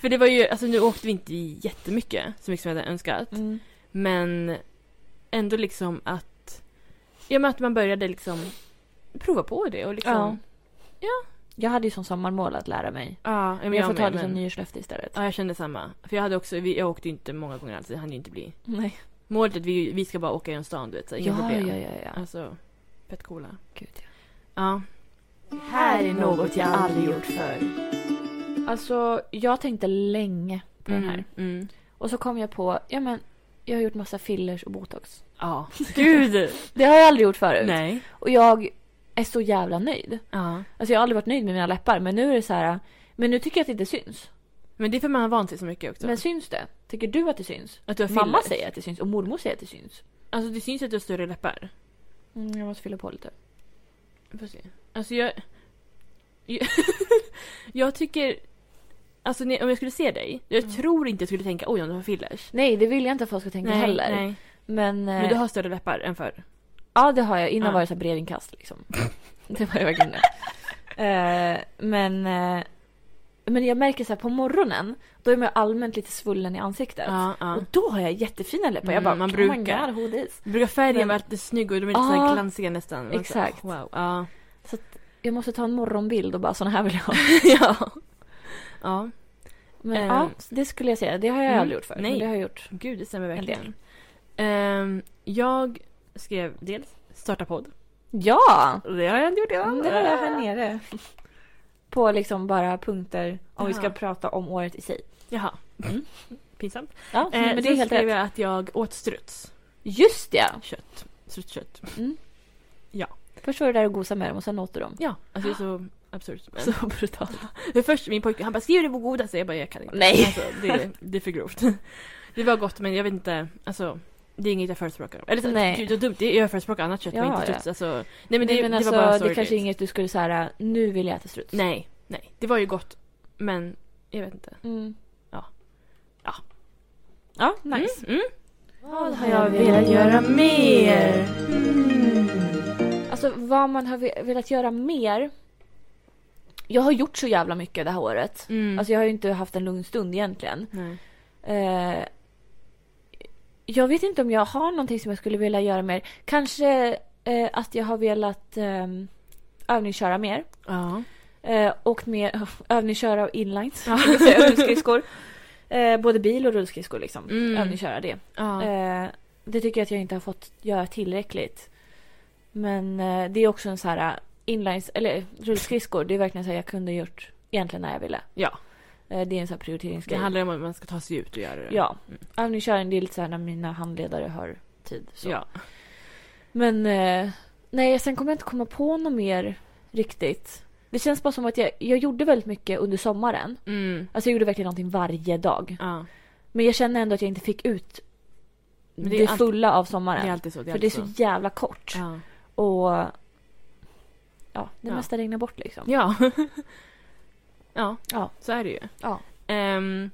B: för det var ju, alltså nu åkte vi inte jättemycket, så mycket som jag hade önskat.
A: Mm.
B: Men ändå liksom att, ja men att man började liksom prova på det och liksom.
A: Ja. Jag hade ju som sommarmål att lära mig.
B: ja men
A: Men jag får ta
B: med,
A: det som
B: men-
A: nyårslöfte istället.
B: Ja, jag kände samma. För jag hade också, vi, jag åkte ju inte många gånger alls, det hann ju inte bli.
A: Nej.
B: Målet är att vi, vi ska bara åka genom stan, du vet. Så här, inga
A: Ja, ja,
B: problem.
A: ja, ja.
B: Alltså, fett coola.
A: Gud, ja.
B: Ja.
A: här är något jag aldrig gjort förr. Alltså, jag tänkte länge på den här.
B: Mm.
A: Och så kom jag på, ja men, jag har gjort massa fillers och botox.
B: Ja. Gud!
A: Det har jag aldrig gjort förut.
B: Nej.
A: Och jag är så jävla nöjd.
B: Ja.
A: Alltså jag har aldrig varit nöjd med mina läppar men nu är det så här. Men nu tycker jag att det inte syns.
B: Men det är för man har vant sig så mycket också.
A: Men syns det? Tycker du att det syns?
B: att du har
A: Mamma
B: fillers.
A: säger att det syns och mormor säger att det syns.
B: Alltså det syns att du har större läppar.
A: Mm, jag måste fylla på lite.
B: Får se. Alltså jag... Jag, jag tycker... Alltså när- om jag skulle se dig, jag
A: Mm.
B: tror inte jag skulle tänka oj om du har fillers.
A: Nej det vill jag inte att folk ska tänka heller.
B: nej.
A: Men,
B: Men
A: eh,
B: du har större läppar än förr.
A: ja det har jag. Innan
B: Ja.
A: var det så här brevinkast liksom. det var jag verkligen det. Eh, men, eh, men jag märker så här på morgonen då är man allmänt lite svullen i ansiktet.
B: Ja, ja.
A: Och då har jag jättefina läppar.
B: Mm,
A: jag bara
B: man
A: man brukar.
B: brukar.
A: God, who this?
B: Brukar färgen
A: Men-
B: vara lite snygg och de är lite så här
A: Ja,
B: glansiga nästan. Man så-
A: exakt.
B: wow. Ja.
A: Jag måste ta en morgonbild och bara såna här vill jag ha.
B: ja. Ja.
A: Men
B: Eh.
A: ja, det skulle jag säga. Det har jag
B: Mm.
A: aldrig gjort förut.
B: Nej.
A: Men det har jag gjort.
B: Gud, det stämmer
A: En
B: verkligen. Ehm, jag skrev dels starta podd.
A: Ja!
B: Det har jag inte gjort
A: Mm,
B: innan.
A: Det har jag här nere. På liksom bara punkter om vi ska
B: Jaha.
A: prata om året i sig.
B: Jaha. Mm. Pinsamt.
A: Mm. Ja,
B: Eh,
A: men det är helt
B: skrev
A: rätt.
B: jag att jag åt struts.
A: Just det!
B: Kött. Strutskött.
A: Först var du där och gosade med dem och sen åt du dem.
B: Ja, alltså det är så absurt. Men.
A: Så brutalt.
B: För först min pojke, han bara skriv det på godaste. Jag bara jag kan inte.
A: Nej.
B: Alltså, det, det är för grovt. Det var gott men jag vet inte, alltså det är inget jag förespråkar. Eller så,
A: Nej.
B: Nej. Gud, det är dumt. Det- Jag förespråkar annat kött
A: Ja,
B: men inte
A: ja.
B: struts. Alltså, nej men det,
A: Nej, men
B: det
A: alltså,
B: var bara
A: det
B: sorgligt.
A: kanske är inget du skulle säga nu vill jag äta struts.
B: Nej, nej. Det var ju gott men jag vet inte.
A: Mm.
B: Ja. Ja.
A: Ja, nice.
B: Mm, mm.
A: Vad
B: har jag velat göra mer?
A: Alltså vad man har ve- velat göra mer. Jag har gjort så jävla mycket det här året.
B: Mm.
A: Alltså jag har ju inte haft en lugn stund egentligen.
B: Nej.
A: Eh, jag vet inte om jag har någonting som jag skulle vilja göra mer. Kanske eh, att jag har velat eh, övningsköra mer.
B: Ja.
A: Eh, åkt mer övningsköra och inlines, det vill säga rullskridskor. Eh, både bil och rullskridskor liksom.
B: Mm.
A: Övningsköra det.
B: ja.
A: Eh, det tycker jag att jag inte har fått göra tillräckligt. Men eh, det är också en så här inlines, eller eh, rullskridskor, det är verkligen så här jag kunde gjort egentligen när jag ville.
B: ja.
A: Eh, det är en så här
B: Det
A: prioriteringsgrej.
B: handlar om att man ska ta sig ut och göra det.
A: Ja.
B: Mm.
A: Övningskörning, det är lite så här när mina handledare har tid. Så.
B: Ja.
A: Men eh, nej, sen kommer jag inte komma på något mer riktigt. Det känns bara som att jag, jag gjorde väldigt mycket under sommaren.
B: Mm.
A: Alltså jag gjorde verkligen någonting varje dag.
B: Ja.
A: Men jag känner ändå att jag inte fick ut
B: Men det
A: det,
B: är ju allt-
A: fulla av
B: Det
A: sommaren.
B: är alltid så. Det är
A: för det är
B: alltid
A: så jävla kort.
B: Ja.
A: Och ja, det
B: Ja.
A: mesta regnar bort liksom.
B: Ja. ja.
A: Ja.
B: så är det ju.
A: Ja.
B: Ehm,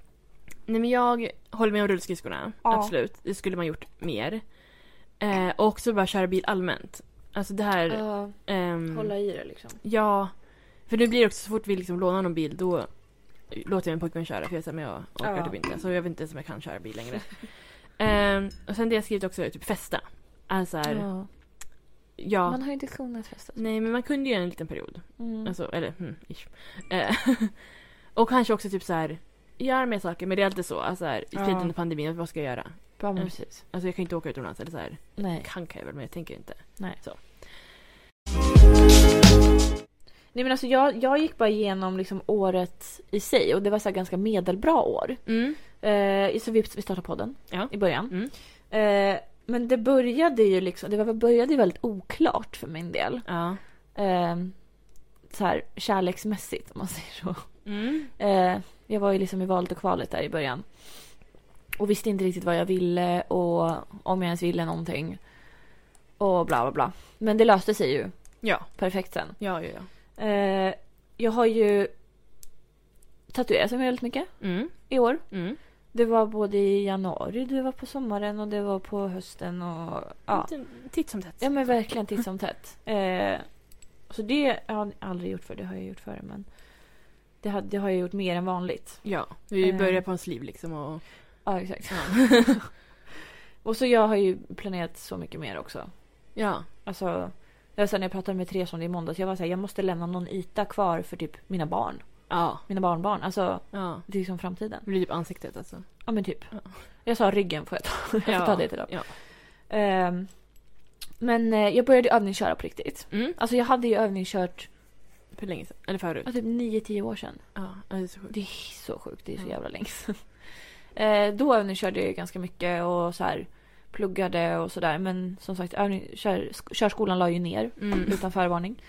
B: nej men jag håller med om rullskidskorna.
A: Ja.
B: Absolut. Det skulle man gjort mer. Eh, och också bara köra bil allmänt. Alltså det här...
A: Ja,
B: ehm,
A: hålla i det liksom.
B: Ja. För nu blir det också så fort vi liksom lånar någon bil då låter jag min pojkvän köra för jag, är så här, men jag orkar
A: Ja.
B: typ inte. Så jag vet inte ens om jag kan köra bil längre. Ehm, och sen det jag skrivit också är typ festa. Alltså här, ja.
A: Ja. Man har ju inte kunnat festa.
B: Nej men man kunde ju en liten period.
A: Mm.
B: Alltså, eller hmm, ish. Eh, och kanske också typ så här gör mer saker men det är alltid så. Alltså här, i
A: Ja.
B: tiden under pandemin, vad ska jag göra?
A: ja, men
B: Mm.
A: precis.
B: Alltså jag kan ju inte åka utomlands eller så här.
A: Nej.
B: Kan kan jag väl men jag tänker inte.
A: Nej men alltså jag, jag gick bara igenom liksom året i sig och det var så här ganska medelbra år.
B: Mm.
A: Eh, så vi, vi startade podden
B: Ja.
A: i början.
B: Mm.
A: Eh, men det började ju liksom, det var- började ju väldigt oklart för min del.
B: Ja.
A: Eh, så här kärleksmässigt om man säger så.
B: Mm.
A: Eh, jag var ju liksom i valet och kvalet där i början. Och visste inte riktigt vad jag ville och om jag ens ville någonting. Och bla bla bla. Men det löste sig ju
B: Ja.
A: perfekt sen.
B: Ja, ja, ja.
A: Eh, jag har ju tatuerat mig väldigt mycket
B: Mm.
A: i år.
B: Mm.
A: Det var både i januari, det var på sommaren och det var på hösten och ja.
B: Lite Mm, Titt som tätt.
A: Ja men verkligen titt som tätt. Eh, så det har jag aldrig gjort för det har jag gjort förr men det har, det har jag gjort mer än vanligt.
B: Ja, vi
A: Eh.
B: börjar på en sliv liksom och...
A: Ja exakt.
B: Ja.
A: Och så jag har ju planerat så mycket mer också.
B: ja.
A: Alltså, jag, sen när jag pratade med Therese om det i måndags, jag var såhär, jag måste lämna någon yta kvar för typ mina barn.
B: Ja.
A: Mina barnbarn, alltså
B: ja.
A: det är liksom framtiden.
B: Det blir typ ansiktet alltså.
A: Ja men typ.
B: Ja.
A: Jag sa ryggen får jag ta, jag får ta det till dem.
B: Ja.
A: Ehm, men eh, jag började övningsköra på riktigt.
B: Mm.
A: Alltså jag hade ju övningskört
B: För länge sedan. Eller förut.
A: ja, typ 9-10 år sedan.
B: Ja, ja, det är så sjukt.
A: Det är så sjukt, det är så
B: Ja.
A: jävla länge sedan. Eh, då övningskörde jag ju ganska mycket och så här pluggade och sådär. Men som sagt, övning, kör, sk- körskolan la ju ner
B: Mm.
A: utan förvarning.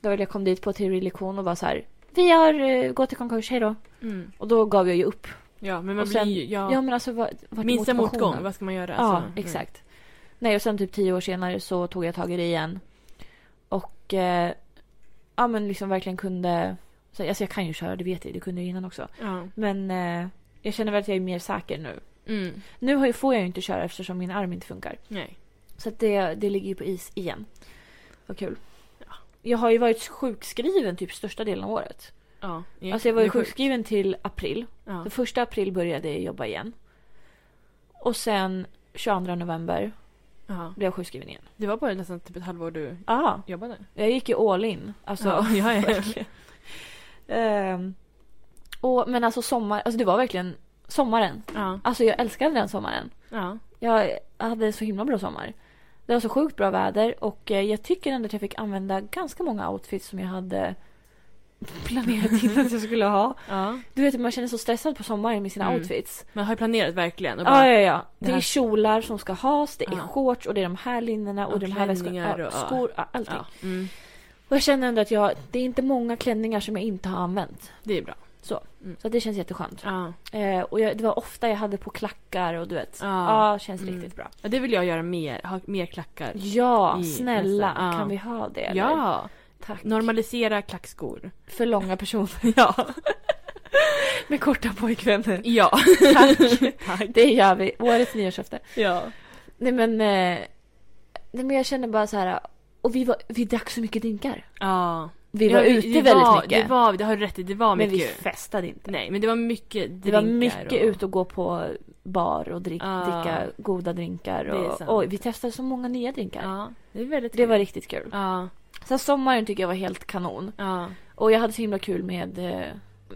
A: Då jag kom dit på teorilektion och var så här. Vi har eh, gått i konkurs, hejdå.
B: Mm.
A: Och då gav jag ju upp.
B: Ja, men man
A: Och sen-
B: blir ju... Ja.
A: Ja, men alltså vad, vart är
B: Minsta
A: motivationen?
B: motgång, vad ska man göra?
A: Ja,
B: Alltså, mm.
A: exakt. Nej, och sen typ tio år senare så tog jag tag i det igen. Och eh, ja, men liksom verkligen kunde... så- Alltså jag kan ju köra, det vet jag, det kunde jag ju innan också.
B: Ja.
A: Men eh, jag känner väl att jag är mer säker nu.
B: Mm.
A: Nu har ju- får jag ju inte köra eftersom min arm inte funkar.
B: Nej.
A: Så att det, det ligger ju på is igen. Vad kul. Jag har ju varit sjukskriven typ största delen av året.
B: Ja. ja.
A: Alltså jag var ju
B: Det är sjukt.
A: sjukskriven till april.
B: Ja.
A: Den första april började jag jobba igen. Och sen 22 november
B: ja.
A: blev jag sjukskriven igen.
B: Det var bara nästan typ ett halvår du
A: Ja,
B: jobbade.
A: jag gick ju all in. Alltså,
B: Ja, ja, ja.
A: verkligen. Ehm, och, men alltså sommar, alltså det var verkligen sommaren.
B: Ja.
A: Alltså jag älskade den sommaren.
B: Ja.
A: Jag hade en så himla bra sommar. Det var så sjukt bra väder och eh, jag tycker ändå att jag fick använda ganska många outfits som jag hade planerat in att jag skulle ha.
B: ja.
A: Du vet, man känner sig så stressad på sommaren med sina
B: Mm.
A: outfits.
B: Man har ju planerat verkligen. Och
A: Ja,
B: bara,
A: ja, ja.
B: det
A: Det är
B: här-
A: kjolar som ska has, det är
B: Ja.
A: shorts och det är de här linnena och,
B: Och
A: de här
B: klänningar
A: väskorna. Ja,
B: och- ja.
A: skor, ja, allting.
B: ja. Mm.
A: Och jag känner ändå att jag, det är inte många klänningar som jag inte har använt.
B: Det är bra.
A: Så att det känns jätteskönt.
B: Ja.
A: Eh, och jag, det var ofta jag hade på klackar och du vet.
B: Ja.
A: Ja, känns
B: Mm.
A: riktigt bra.
B: ja. Det vill jag göra mer. Ha mer klackar.
A: Ja,
B: I
A: snälla.
B: nästa, ja.
A: Kan vi ha det? eller?
B: Ja.
A: Tack.
B: Normalisera klackskor.
A: För långa personer. Ja. Med korta pojkvänner.
B: Ja.
A: Tack.
B: Tack.
A: Det gör vi. Årets nyårslöfte.
B: Ja.
A: Nej men, eh, nej men jag känner bara så här. Och vi, var, vi drack så mycket drinkar.
B: Ja.
A: Vi var
B: ja,
A: ute
B: det
A: väldigt
B: var,
A: mycket.
B: Det var, det har du rätt i. Det var
A: men vi
B: mycket.
A: festade inte.
B: Nej, men det var mycket
A: Det var
B: drinkar
A: mycket ut och gå på bar och drink,
B: Ja.
A: dricka goda drinkar.
B: Det är
A: Och,
B: sant.
A: oj, vi testade så många nya drinkar.
B: Ja. Det är väldigt
A: Det var riktigt kul.
B: Ja.
A: Sen sommaren tycker jag var helt kanon.
B: Ja.
A: Och jag hade så himla kul med eh,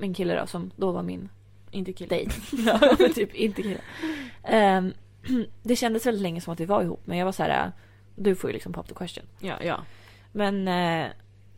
A: min kille då, som då var min
B: Inte kille.
A: dejt. typ inte kille. Ehm, det kändes väldigt länge som att vi var ihop men jag var så här, äh, du får ju liksom pop the question.
B: Ja, ja.
A: Men eh,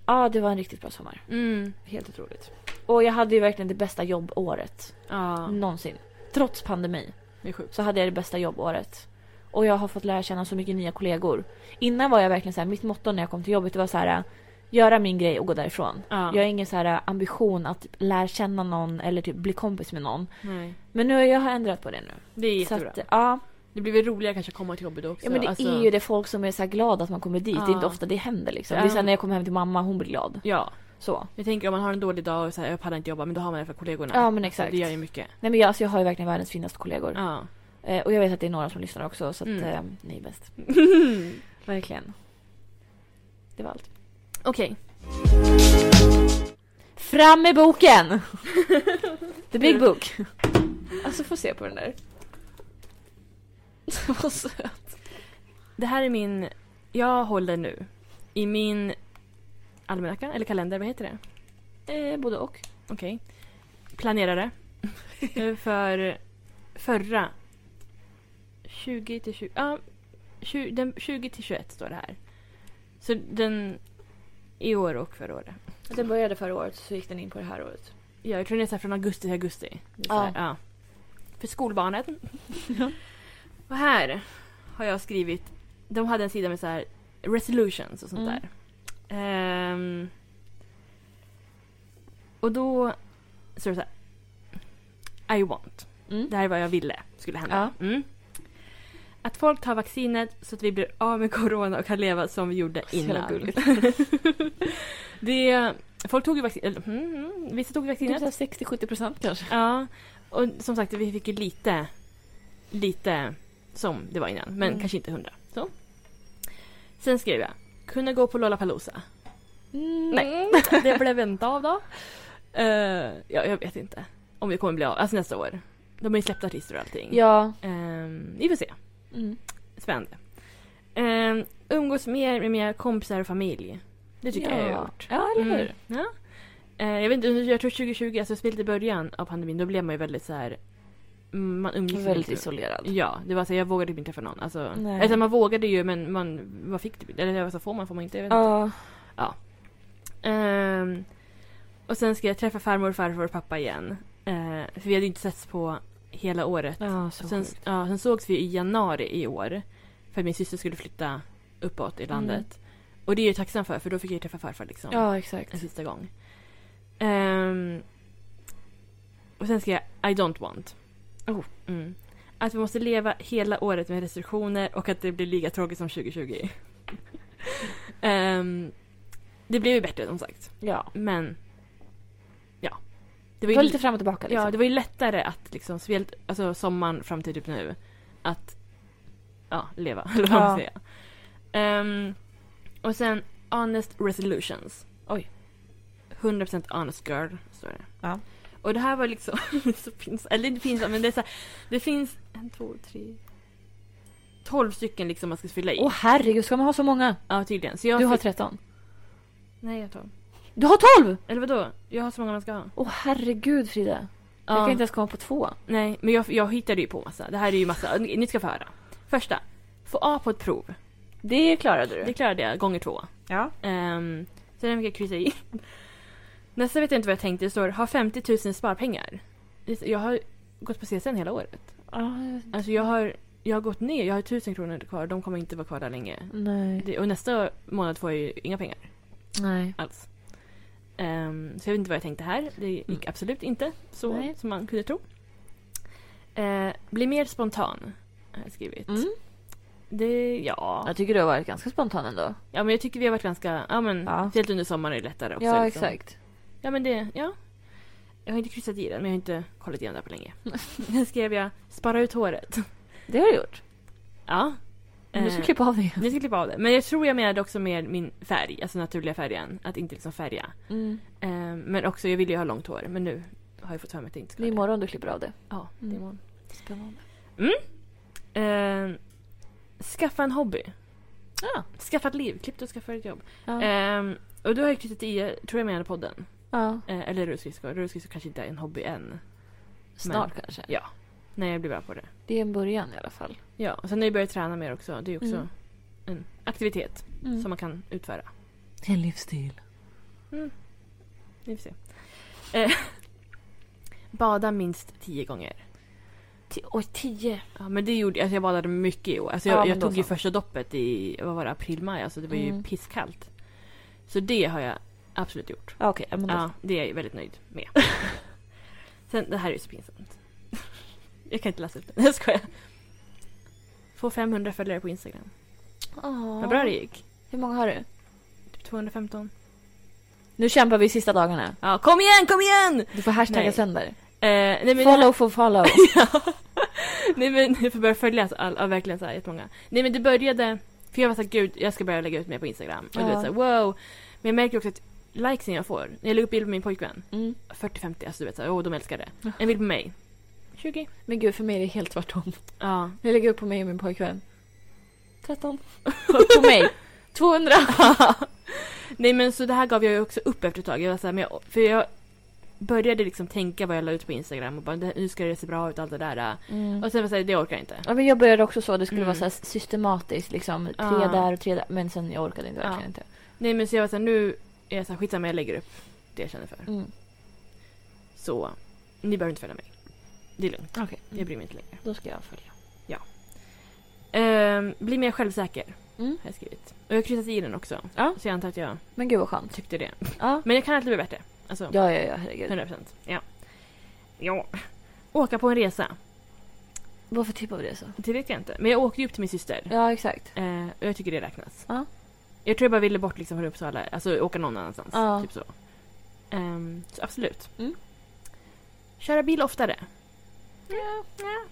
A: ja, det var en riktigt bra sommar.
B: Mm.
A: Helt otroligt. Och jag hade ju verkligen det bästa jobbåret
B: Ja.
A: någonsin. Trots pandemi.
B: Det är sjukt.
A: så hade jag det bästa jobbåret. Och jag har fått lära känna så mycket nya kollegor. Innan var jag verkligen så här, mitt motto när jag kom till jobbet det var så här, "Eh, göra min grej och gå därifrån.
B: Ja.
A: Jag har ingen så här eh, ambition att typ lära känna någon eller typ bli kompis med någon.
B: Nej.
A: Men nu har jag ändrat på det nu.
B: Det är
A: Så
B: jättebra.
A: att, ja,
B: Det blir väl roligare kanske att komma till jobbet också.
A: Ja men det
B: alltså-
A: är ju det folk som är så här glada att man kommer dit. Det är inte
B: Ja.
A: ofta det händer liksom.
B: Ja.
A: Det är sen när jag kommer hem till mamma, hon blir glad.
B: Ja,
A: Så.
B: jag tänker om man har en dålig dag och säger jag pallar inte jobba, men då har man det för kollegorna.
A: Ja men
B: Så
A: exakt.
B: Alltså, det gör ju mycket.
A: Nej men jag, alltså, jag har ju verkligen världens finaste kollegor.
B: Ja.
A: Eh, och jag vet att det är några som lyssnar också så att
B: Mm.
A: eh, ni är bäst. Verkligen. Det var allt.
B: Okej.
A: Fram med boken! The big book. Alltså få se på den där. Vad söt.
B: Det här är min... Jag håller nu i min almanacka, eller kalender, vad heter det?
A: Eh, både och.
B: Okej. Planerare. Eh, för förra... 20 till 20... Ja, 20, den 20 till 21 står det här. Så den... I år och förra året.
A: Den började förra året så gick den in på det här året.
B: Ja, jag tror den är så här från augusti till augusti. Det är så här, ja. För skolbarnen. och här har jag skrivit... De hade en sida med så här resolutions och sånt
A: Mm.
B: där. Ehm, och då står det så här. I want.
A: Mm.
B: Det här är vad jag ville skulle hända. Mm. Att folk tar vaccinet så att vi blir av med corona och kan leva som vi gjorde
A: Så jävla
B: innan.
A: gulligt.
B: det, folk tog ju vaccinet. Mm, mm, vissa tog
A: Det är
B: vaccinet.
A: Typ så här 60-70% kanske.
B: Ja, och som sagt vi fick ju lite, lite som det var innan, men
A: Mm.
B: kanske inte hundra. Så. Sen skrev jag, kunna gå på Lollapalooza.
A: Mm.
B: Nej, det blev inte av då. Eh, ja, jag vet inte om det kommer bli av, alltså nästa år. De har ju släppt artister och allting.
A: Ja.
B: Ehm, vi får se,
A: Mm.
B: spännande. Ehm, umgås mer med mina kompisar och familj. Det tycker jag jag har
A: Ja.
B: gjort.
A: Ja, eller hur?
B: Mm. Ja. Eh, jag, vet inte, jag tror 2020, alltså speciellt i början av pandemin, då blev man ju väldigt så här. mm, Man umgicks
A: Väldigt
B: inte.
A: isolerad.
B: Ja, det var så här, jag vågade typ inte träffa någon. Alltså,
A: Nej.
B: alltså man vågade ju men man vad fick typ inte. Eller alltså, får man, får man inte? Jag vet inte.
A: Ja.
B: Ehm, och sen ska jag träffa farmor, farfar och pappa igen. Eh, för vi hade ju inte setts på hela året.
A: Ja, så
B: sen,
A: sjukt.
B: ja, sen sågs vi i januari i år. För att min syster skulle flytta uppåt i landet. Och det är jag ju tacksam för, för då fick jag ju träffa farfar liksom
A: Mm. Ja, exakt.
B: en sista gång. Ehm, och sen ska jag I don't want.
A: Oh.
B: Mm. Att vi måste leva hela året med restriktioner och att det blir lika tråkigt som 2020. Ehm, det blev ju bättre som sagt.
A: Ja.
B: Men ja. Det
A: Det
B: ju
A: var lite fram och tillbaka liksom.
B: Ja, det var ju lättare att liksom, speciellt alltså, sommaren fram till typ nu, att ja, leva, eller vad man
A: Ja.
B: ska säga. Ehm, och sen Honest Resolutions.
A: Oj.
B: 100% Honest Girl, står det.
A: Ja.
B: Och det här var liksom, så pinsamt, eller inte pinsamt, men det är så här, det finns en, två, tre, tolv stycken liksom man ska fylla i.
A: Åh herregud, ska man ha så många?
B: Ja, tydligen. Så jag
A: Du har
B: fick-
A: 13.
B: Nej, jag har tolv.
A: Du har 12!
B: Eller vadå? Jag har så många man ska ha.
A: Åh herregud Frida. Jag kan inte ens komma på två.
B: Nej, men jag, jag hittade ju på massa. Det här är ju massa. Ni ni ska få höra. Första. Få A på ett prov.
A: Det klarade
B: Det klarade jag gånger två.
A: Ja.
B: Um, sen fick jag kryssa i. Nästa vet jag inte vad jag tänkte. Det står ha 50 000 sparpengar. Jag har gått på CSN hela året. Alltså jag har, jag har gått ner. Jag har 1000 kronor kvar. De kommer inte vara kvar där länge.
A: Mm. Nej.
B: Det, och nästa månad får jag ju inga pengar
A: Nej.
B: alls. Ehm, så jag vet inte vad jag tänkte här. Det gick
A: Mm.
B: absolut inte så
A: Nej.
B: som man kunde tro. Eh, bli mer spontan, har jag skrivit.
A: Mm.
B: Det, ja.
A: Jag tycker du har varit ganska spontan ändå.
B: ja, men jag tycker vi har varit ganska... Ja, men
A: Ja.
B: Speciellt under sommaren är det lättare också. liksom. Ja, men det... Ja. Jag har inte kryssat i den, men jag har inte kollat igenom det här på länge. Sen skrev jag spara ut håret.
A: Det har du gjort.
B: Ja.
A: Men du
B: Eh,
A: ska klippa av det.
B: vi ska klippa av det. Men jag tror jag menade också mer min färg, alltså naturliga färgen. Att inte liksom färga.
A: Mm.
B: Eh, men också, jag ville ju ha långt hår. Men nu har jag fått för mig att jag inte
A: Det
B: ska
A: är
B: ha det.
A: imorgon du klipper av det.
B: Ja, det är
A: Mm.
B: imorgon.
A: Spännande.
B: Eh, skaffa en hobby.
A: Ja.
B: Skaffa ett liv. Klipp dig och skaffa ett jobb.
A: Ja.
B: Eh, och då har jag kryssat i, tror jag menade podden.
A: ja.
B: Eh, eller rullskridskor. Rullskridskor kanske inte är en hobby än.
A: Snart kanske.
B: Ja. När jag blir bra på det.
A: Det är en början i alla fall.
B: Ja, och sen har jag börjat träna mer också. Det är ju också
A: Mm.
B: en aktivitet
A: Mm.
B: som man kan utföra.
A: En livsstil.
B: Vi får se. Eh, bada minst tio gånger.
A: Oj, tio.
B: Ja, men det gjorde jag. Alltså jag badade mycket i år. Alltså
A: Ja,
B: jag
A: men
B: jag
A: då
B: tog ju
A: så.
B: första doppet i vad var det, april, maj. Alltså det var ju
A: Mm.
B: pisskallt. Så det har jag absolut gjort.
A: Ja, Okej, men då
B: Ja, det är jag ju väldigt nöjd med. Sen, det här är ju så pinsamt. Jag kan inte läsa upp det. Jag skojar. Få 500 följare på Instagram.
A: Åh.
B: Vad bra det gick.
A: Hur många har du?
B: Typ 215.
A: Nu kämpar vi sista dagarna.
B: Ja, kom igen, kom igen!
A: Du får hashtagga
B: Nej.
A: sönder.
B: Eh, nej, men
A: Follow for follow.
B: Nej men jag får börja följa all, ja, verkligen så här jättemånga. Nej men det började, för jag var såhär gud jag ska börja lägga ut mer på Instagram. Och du
A: Ja.
B: vet såhär wow. Men jag märker också att likesen jag får, när jag lägger upp bild på min pojkvän,
A: Mm.
B: 40-50, alltså du vet såhär, åh de älskar det. En bild på mig, 20.
A: Men gud, för mig är det helt tvärtom.
B: Ja.
A: Jag lägger upp på mig och min pojkvän. 13. Och på mig. 200.
B: Nej men så det här gav jag ju också upp efter ett tag. Jag var såhär, men jag, för jag började liksom tänka vad jag la ut på Instagram och bara "Det- nu ska det se bra ut allt det där.
A: Mm.
B: Och sen var jag såhär, det orkar jag inte.
A: Ja, men jag började också så. Det skulle
B: Mm.
A: vara så här systematiskt. Liksom, tre
B: Ja.
A: där och tre där. Men sen jag orkade inte,
B: Ja.
A: verkligen inte.
B: Nej men så jag var såhär, nu är jag såhär skitsamma jag lägger upp det jag känner för.
A: Mm.
B: Så ni behöver inte följa mig. Det är lugnt.
A: Okej,
B: Jag bryr mig inte längre.
A: då ska jag följa.
B: Ehm, bli mer självsäker
A: Mm.
B: har jag skrivit. Och jag har kryssat i den också.
A: Ja.
B: Så jag antar att jag
A: Men gud vad skönt.
B: tyckte det.
A: Ja,
B: Men jag kan alltid bli bättre. Alltså,
A: ja, ja, ja herregud.
B: 100%. Ja. ja. Åka på en resa.
A: Vad för typ av resa?
B: Det vet jag inte. Men jag åkte ju upp till min syster.
A: Ja, exakt.
B: Ehm, och jag tycker det räknas.
A: Ja.
B: Jag tror jag bara ville bort liksom från Uppsala. Alltså åka någon annanstans.
A: Ja.
B: Typ så. Ehm, så absolut.
A: Mm.
B: Köra bil oftare.
A: Ja, ja.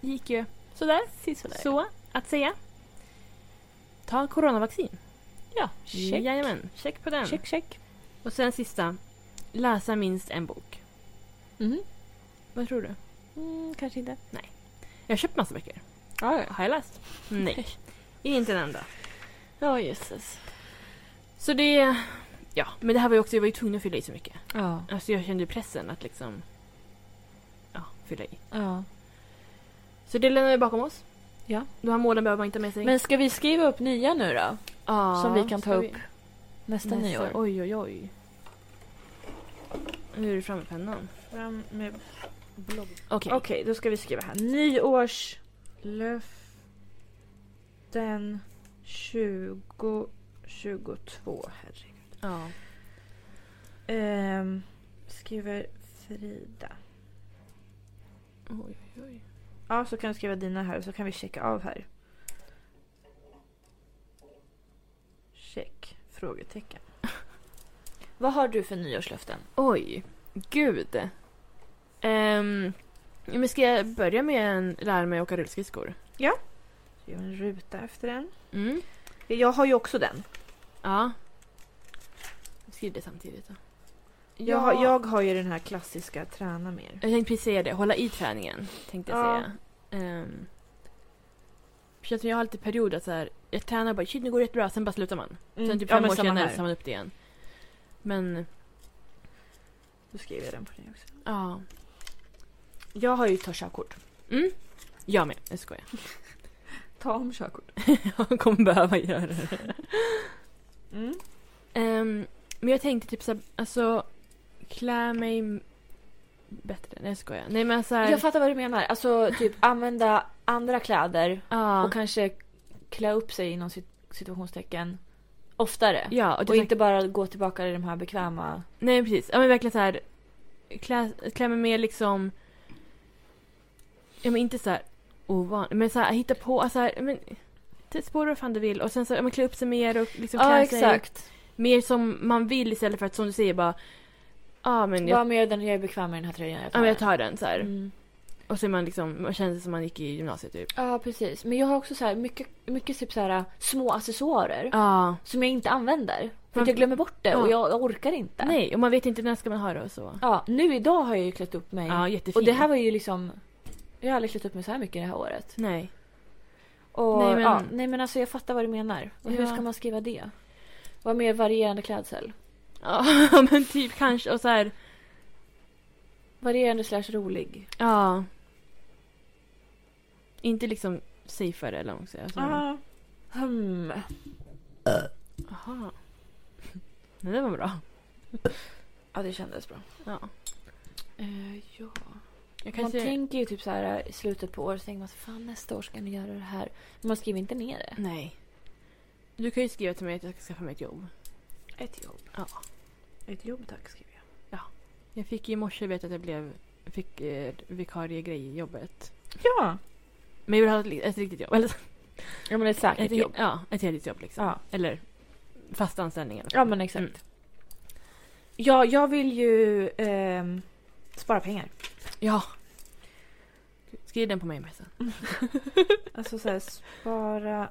B: Gick ju sådär.
A: Sisådär.
B: Så, att säga. Ta coronavaccin.
A: ja, check.
B: Jajamän, check på den.
A: Check, check.
B: Och sen sista. Läsa minst en bok.
A: Mhm.
B: Vad tror du?
A: Mm, kanske inte.
B: Jag har köpt massa böcker.
A: Ja,
B: Har jag läst? Nej. Inte en enda.
A: ja jösses.
B: Så det... Ja, men det här var ju också... Jag var ju tvungen att fylla i så mycket.
A: Ja.
B: Alltså jag kände ju pressen att liksom... Ja, fylla i.
A: ja.
B: Så det lämnar vi bakom oss.
A: Ja.
B: De här målen behöver man inte ha med sig.
A: Men ska vi skriva upp nya nu då?
B: Ja,
A: som vi kan ta
B: ska
A: upp nästa, nyår?
B: Oj, oj, oj. Nu är du framme med pennan.
A: Fram med blogg.
B: Okej.
A: Okej, då ska vi skriva här. Nyårslöften 2022. Herregud.
B: Ja.
A: Ehm, skriver Frida.
B: Oj, oj, oj.
A: Ja, så kan du skriva dina här så kan vi checka av här. Check. Frågetecken. Vad har du för nyårslöften?
B: Oj, gud. Um, men ska jag börja med en lära mig åka rullskridskor?
A: Jag gör en ruta efter den.
B: Mm.
A: Jag har ju också den.
B: Ja. Skriv det samtidigt då.
A: Jag, har- jag har ju den här klassiska träna mer.
B: jag tänkte precis säga det, hålla i träningen. Tänkte jag
A: Ja.
B: säga. Ehm, för jag tror jag har lite perioder att så här, jag tränar bara shit nu går det jättebra, sen bara slutar man. Sen typ
A: Mm. Ja,
B: fem
A: men
B: år
A: samma
B: senare
A: här.
B: tar man upp det igen. Men
A: Då skriver jag den på dig också.
B: ja,
A: Jag har ju ta körkort.
B: mm. jag med, jag skojar.
A: Ta om körkort.
B: Jag kommer behöva göra det.
A: Mm.
B: Ehm, men jag tänkte typ såhär, alltså klä mig m- bättre. Nej jag skojar. Nej men såhär.
A: Jag fattar vad du menar. Alltså typ använda andra kläder
B: ja,
A: och kanske klä upp sig inom sitt situationstecken oftare.
B: ja, och,
A: Och
B: inte...
A: inte bara gå tillbaka i de här bekväma...
B: Nej precis. Ja men verkligen såhär. Klä, klä mig mer liksom. Ja men inte såhär ovan. Men såhär hitta på, alltså här, men. Spåra vad fan du vill och sen så ja, men, klä upp sig mer och liksom klä sig mer som man vill istället för att som du säger bara. Ja men jag,
A: Var med den jag är bekväm med den här tröjan.
B: ja, men jag tar den
A: den.
B: såhär.
A: Mm.
B: Och så är man liksom, man känner sig som man gick i gymnasiet typ.
A: Ja, precis. Men jag har också så här mycket, mycket typ så här, små accessoarer
B: Ja.
A: som jag inte använder. För
B: Man-
A: att jag glömmer bort det
B: Ja.
A: och jag orkar inte.
B: Nej, och man vet inte när ska man ha det och så.
A: Ja, nu idag har jag ju klätt upp mig.
B: Ja, jättefint.
A: och det här var ju liksom... Jag har aldrig klätt upp mig så här mycket det här året.
B: Nej.
A: Och,
B: Nej,
A: nej,
B: men-
A: men... Ja, nej men alltså jag fattar vad du menar. Och hur
B: Ja.
A: ska man skriva det? Var mer varierande klädsel.
B: Ja, men typ kanske och så här.
A: Varierande slash rolig.
B: Ja. Inte liksom safeare eller vad man ska
A: Ah.
B: säga. Så-
A: Hmm.
B: Aha. Nej, det var bra.
A: Ja, det kändes bra.
B: Ja.
A: Eh, ja.
B: Jag
A: Man
B: kanske...
A: tänker ju typ så här i slutet på året så tänker man så fan nästa år ska ni göra det här. Men man skriver inte ner det.
B: Nej. Du kan ju skriva till mig att jag ska skaffa mig ett jobb.
A: Ett jobb.
B: Ja.
A: Ett jobb tack skriver jag.
B: Jag fick i morse veta att jag blev... Fick eh, vikariegrej i jobbet.
A: Ja!
B: Men jag vill ha ett, ett riktigt jobb. Eller,
A: Ja men ett säkert jobb.
B: Ja, ett heltidsjobb liksom.
A: Ja.
B: Eller fast anställning. eller så.
A: ja men exakt.
B: Mm.
A: Ja, jag vill ju ehm, spara pengar.
B: Ja. Skriv den på mig med sen.
A: Alltså så här, spara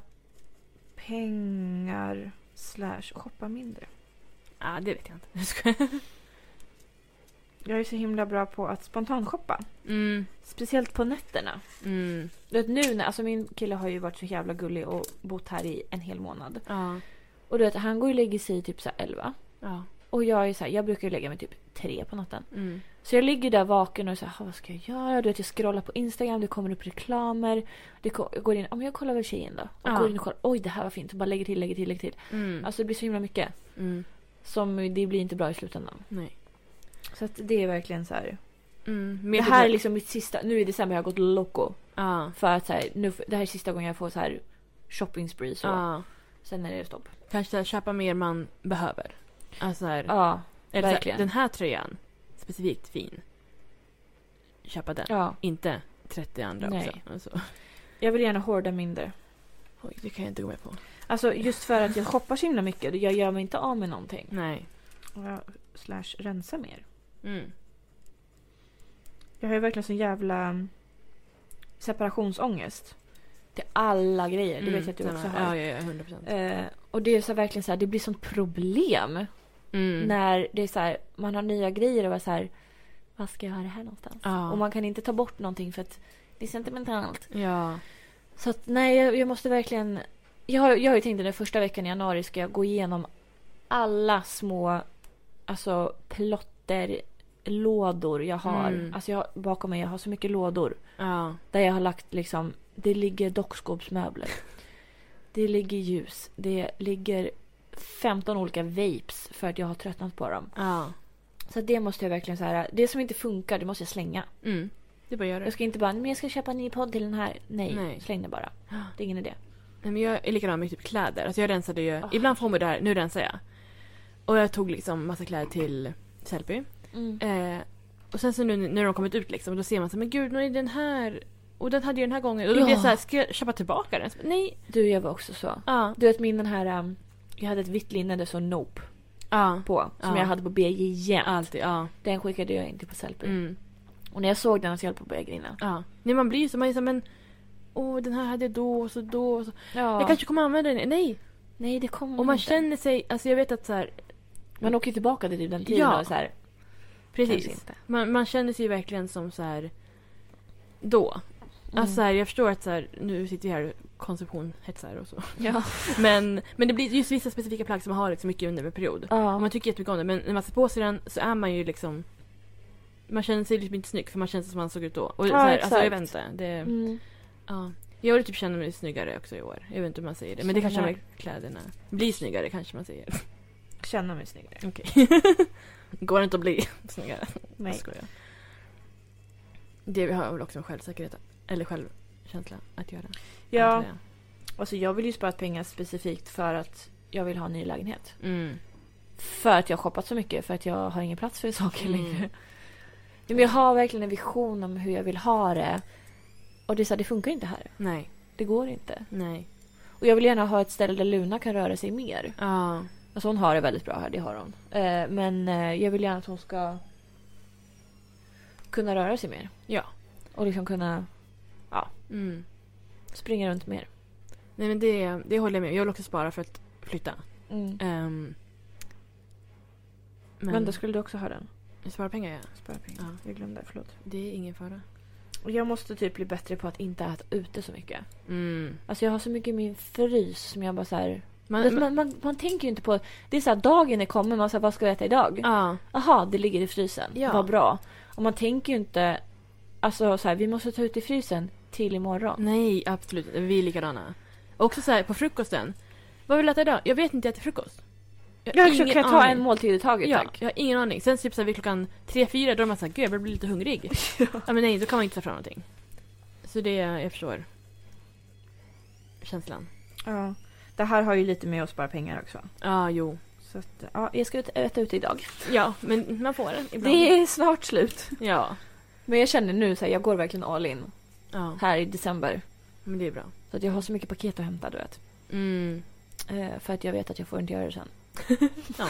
A: pengar slash shoppa mindre.
B: Ja, det vet jag inte. Jag skojar.
A: Jag är så himla bra på att spontanshoppa.
B: Mm.
A: Speciellt på nätterna.
B: Mm.
A: Du vet nu när, alltså min kille har ju varit så jävla gullig och bott här i en hel månad.
B: Ja.
A: Och du vet, han går och lägger sig typ så här 11.
B: Ja.
A: Och jag är så här, jag brukar ju lägga mig typ 3 på natten.
B: Mm.
A: Så jag ligger där vaken och så här, "Ha, vad ska jag göra? Du vet, jag scrollar på Instagram, det kommer upp reklamer. Det ko- jag går in, ja men jag kollar väl tjejen då. Och
B: Ja.
A: går in och kollar, oj det här var fint. Och bara lägger till, lägger till, lägger till.
B: Mm.
A: Alltså det blir så himla mycket.
B: mm.
A: Som det blir inte bra i slutändan.
B: Nej.
A: Så att det är verkligen så här.
B: Mm.
A: Det
B: Mer
A: här är
B: typ-
A: liksom mitt sista, nu i december har jag gått loco.
B: Ja.
A: För att så här, nu, det här är sista gången jag får så här shopping spree så.
B: ja.
A: Sen är det stopp.
B: Kanske så här, köpa mer man behöver. Alltså här,
A: Ja,
B: eller så här,
A: verkligen.
B: den här tröjan, specifikt fin. Köpa den.
A: ja.
B: Inte 30 andra
A: Nej.
B: också. Alltså.
A: Jag vill gärna hårda mindre.
B: Oj, det kan jag inte gå med på.
A: Alltså just för att jag shoppar så himla mycket. Jag gör mig inte av med någonting.
B: Nej.
A: Och jag slash rensa mer.
B: Mm.
A: Jag har ju verkligen sån jävla mm, separationsångest. Till alla grejer. Det
B: Mm,
A: vet jag att du
B: samma.
A: också har.
B: Ja, ja, ja 100 procent.
A: Eh, och det är så här, verkligen så här, det blir sånt problem.
B: Mm.
A: När det är så här, man har nya grejer och bara så här. Vad ska jag ha det här någonstans?
B: Ja.
A: Och man kan inte ta bort någonting för att det är sentimentalt.
B: ja.
A: Så att nej, jag, jag måste verkligen... Jag har, jag har ju tänkt att den första veckan i januari ska jag gå igenom alla små alltså plotterlådor jag har.
B: Mm.
A: Alltså jag, har- bakom mig, jag har så mycket lådor.
B: Ja.
A: Där jag har lagt liksom, det ligger dockskåpsmöbler. det ligger ljus. Det ligger 15 olika vapes för att jag har tröttnat på dem.
B: Ja.
A: Så att det måste jag verkligen så här, det som inte funkar det måste jag slänga.
B: Mm. Det är bara att göra det.
A: Jag ska inte bara, men jag ska köpa en ny podd till den här. Nej,
B: Nej.
A: släng den bara. Det är ingen idé.
B: Nej, men jag är likadan med typ kläder. Alltså jag rensade ju,
A: Ah.
B: ibland får man det här, nu rensar jag. Och jag tog liksom massa kläder till Sellpy. Eh, och sen så nu nu när de kommit ut liksom, då ser man så här, men gud, nu är den här. Och den hade jag den här gången. Och då
A: Ja.
B: blir jag så här, ska jag köpa tillbaka den? Så, bara, Nej.
A: Du, jag var också så.
B: Ja.
A: Du vet min den här, um, jag hade ett vitt linne där så Nope
B: Ja.
A: på. Som
B: Ja.
A: jag hade på BJ igen.
B: Alltid, ja.
A: Den skickade jag in till på Sellpy.
B: Mm.
A: Och när jag såg den så höll jag på att börja grina.
B: ja. Nej, man blir ju så, man är så här, men åh, den här hade jag då och så då. Och så.
A: Ja. Mm.
B: Jag kanske kommer använda den. Nej.
A: Nej, det kommer
B: Och man
A: inte.
B: känner sig, alltså jag vet att så här,
A: Man åker ju tillbaka till typ den tiden
B: Ja.
A: och så här, kanske
B: precis.
A: inte.
B: Man, man känner sig ju verkligen som så här då.
A: Mm.
B: Alltså så här, jag förstår att så här, nu sitter vi här och konsumtion hetsar och så.
A: ja.
B: Men, men det blir just vissa specifika plagg som man har liksom mycket under en period.
A: ja.
B: Och man tycker jättemycket om det men när man sätter på sig den så är man ju liksom man känner sig liksom inte snygg för man känner sig som man såg ut då. Och
A: Ja,
B: så här, alltså jag
A: exakt.
B: vet inte. Det,
A: Mm.
B: ja. Jag vill typ känna mig snyggare också i år. Jag vet inte hur man säger det. Men det kanske
A: Känna-
B: är kläderna. Bli snyggare kanske man säger.
A: Känna mig snyggare.
B: Okej. Går inte att bli snyggare. Jag
A: Nej.
B: skojar. Det har väl också med självsäkerhet eller självkänsla att göra.
A: Ja,
B: antar jag.
A: alltså jag vill ju spara pengar specifikt för att jag vill ha en ny lägenhet.
B: Mm.
A: För att jag har shoppat så mycket, för att jag har ingen plats för saker
B: Mm.
A: längre. Nej, Men jag har verkligen en vision om hur jag vill ha det. Och det är så här, det funkar inte här.
B: Nej,
A: Det går inte.
B: nej.
A: Och jag vill gärna ha ett ställe där Luna kan röra sig mer.
B: Ja.
A: Alltså hon har det väldigt bra här, det har hon. Eh, Men eh, jag vill gärna att hon ska kunna röra sig mer.
B: Ja.
A: Och liksom kunna
B: Mm.
A: springa runt mer.
B: Nej men det, det håller jag med om. Jag vill också spara för att flytta.
A: Mm.
B: Ehm, men
A: Vänta, skulle du också ha den?
B: spara pengar ja.
A: Spara pengar.
B: Ja.
A: Jag glömde, förlåt.
B: Det är ingen fara.
A: Och jag måste typ bli bättre på att inte äta ute så mycket.
B: Mm.
A: Alltså jag har så mycket i min frys som jag bara så här...
B: Man,
A: Man,
B: man,
A: man, man, man tänker ju inte på... Det är så här, dagen är kommen, man säger vad ska vi äta idag?
B: ja.
A: Aha, det ligger i frysen.
B: Ja.
A: Vad bra. Och man tänker ju inte... Alltså så här, vi måste ta ut i frysen till imorgon.
B: Nej, absolut inte. Vi är likadana. Också så här på frukosten. Vad vill du äta idag? Jag vet inte, jag äter frukost.
A: Jag har försökt
B: ingen
A: ta
B: aning.
A: en måltid i taget
B: Ja,
A: tack.
B: jag har ingen aning. Sen typ så här vid klockan tre fyra då är man såhär, gud jag börjar bli lite hungrig. ja. men nej, då kan man inte ta fram någonting. Så det, jag förstår. Känslan.
A: Ja. Det här har ju lite med att spara pengar också.
B: Ja, jo.
A: Så ja, jag ska ut, äta ute idag.
B: Ja, men man får den ibland.
A: Det är snart slut.
B: Ja.
A: Men jag känner nu så här, jag går verkligen all in
B: Ja.
A: här i december.
B: Men det är bra.
A: Så att jag har så mycket paket att hämta, du vet.
B: Mm.
A: Eh, för att jag vet att jag får inte göra det sen.
B: Ja.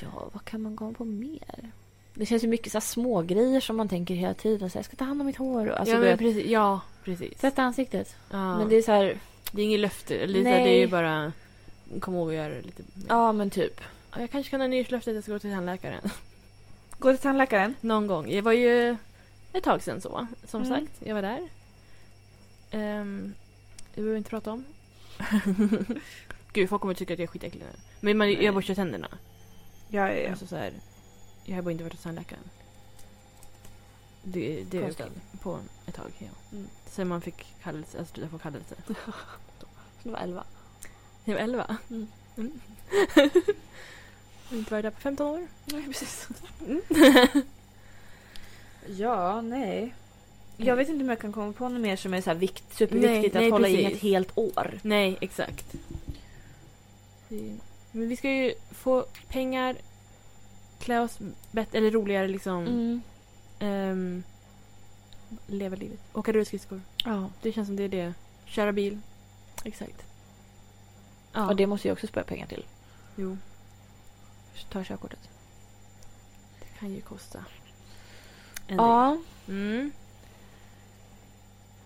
A: Ja, vad kan man gå på mer? Det känns ju mycket så här små grejer som man tänker hela tiden. Så här, jag ska ta hand om mitt hår. Och, alltså,
B: ja,
A: du
B: men
A: vet,
B: precis. Ja, precis.
A: tvätta ansiktet.
B: Ja.
A: Men det är så här,
B: Det är inget löfte. Eller så här,
A: Nej.
B: Det är ju bara... Kom ihåg att göra det lite.
A: ja men typ.
B: Jag kanske kan ha nyårslöftet att jag ska gå till tandläkaren.
A: Gå till tandläkaren.
B: Någon gång. Det var ju ett tag sedan så. Som
A: Mm.
B: sagt, jag var där. Um, det behöver vi inte prata om. Gud, folk kommer tycka att jag är skitäcklig nu. Men man,
A: Nej.
B: jag borstar tänderna.
A: Ja,
B: Alltså, så här, jag har bara inte varit hos tandläkaren. Det, det är
A: Konstigt.
B: okej. På ett tag, ja.
A: Mm.
B: Sen man fick kallelse, alltså jag får kallelse.
A: Det var elva.
B: Jag var elva.
A: Mm.
B: Mm. jag har inte varit där på 15 år.
A: Nej, precis. ja, nej. Jag vet inte om jag kan komma på något mer som är så här vikt, superviktigt
B: Nej, nej,
A: att hålla i
B: precis.
A: ett helt år.
B: Nej, exakt. Det- Men vi ska ju få pengar, klä oss bättre, eller roligare
A: Mm.
B: liksom. Ehm, leva livet. Åka rullskridskor.
A: Ja.
B: Det känns som det är det. Köra bil. Exakt. Ja.
A: Och det måste jag också spara pengar till.
B: Jo,
A: Ta körkortet.
B: det kan ju kosta. En
A: Ja.
B: del. Mm.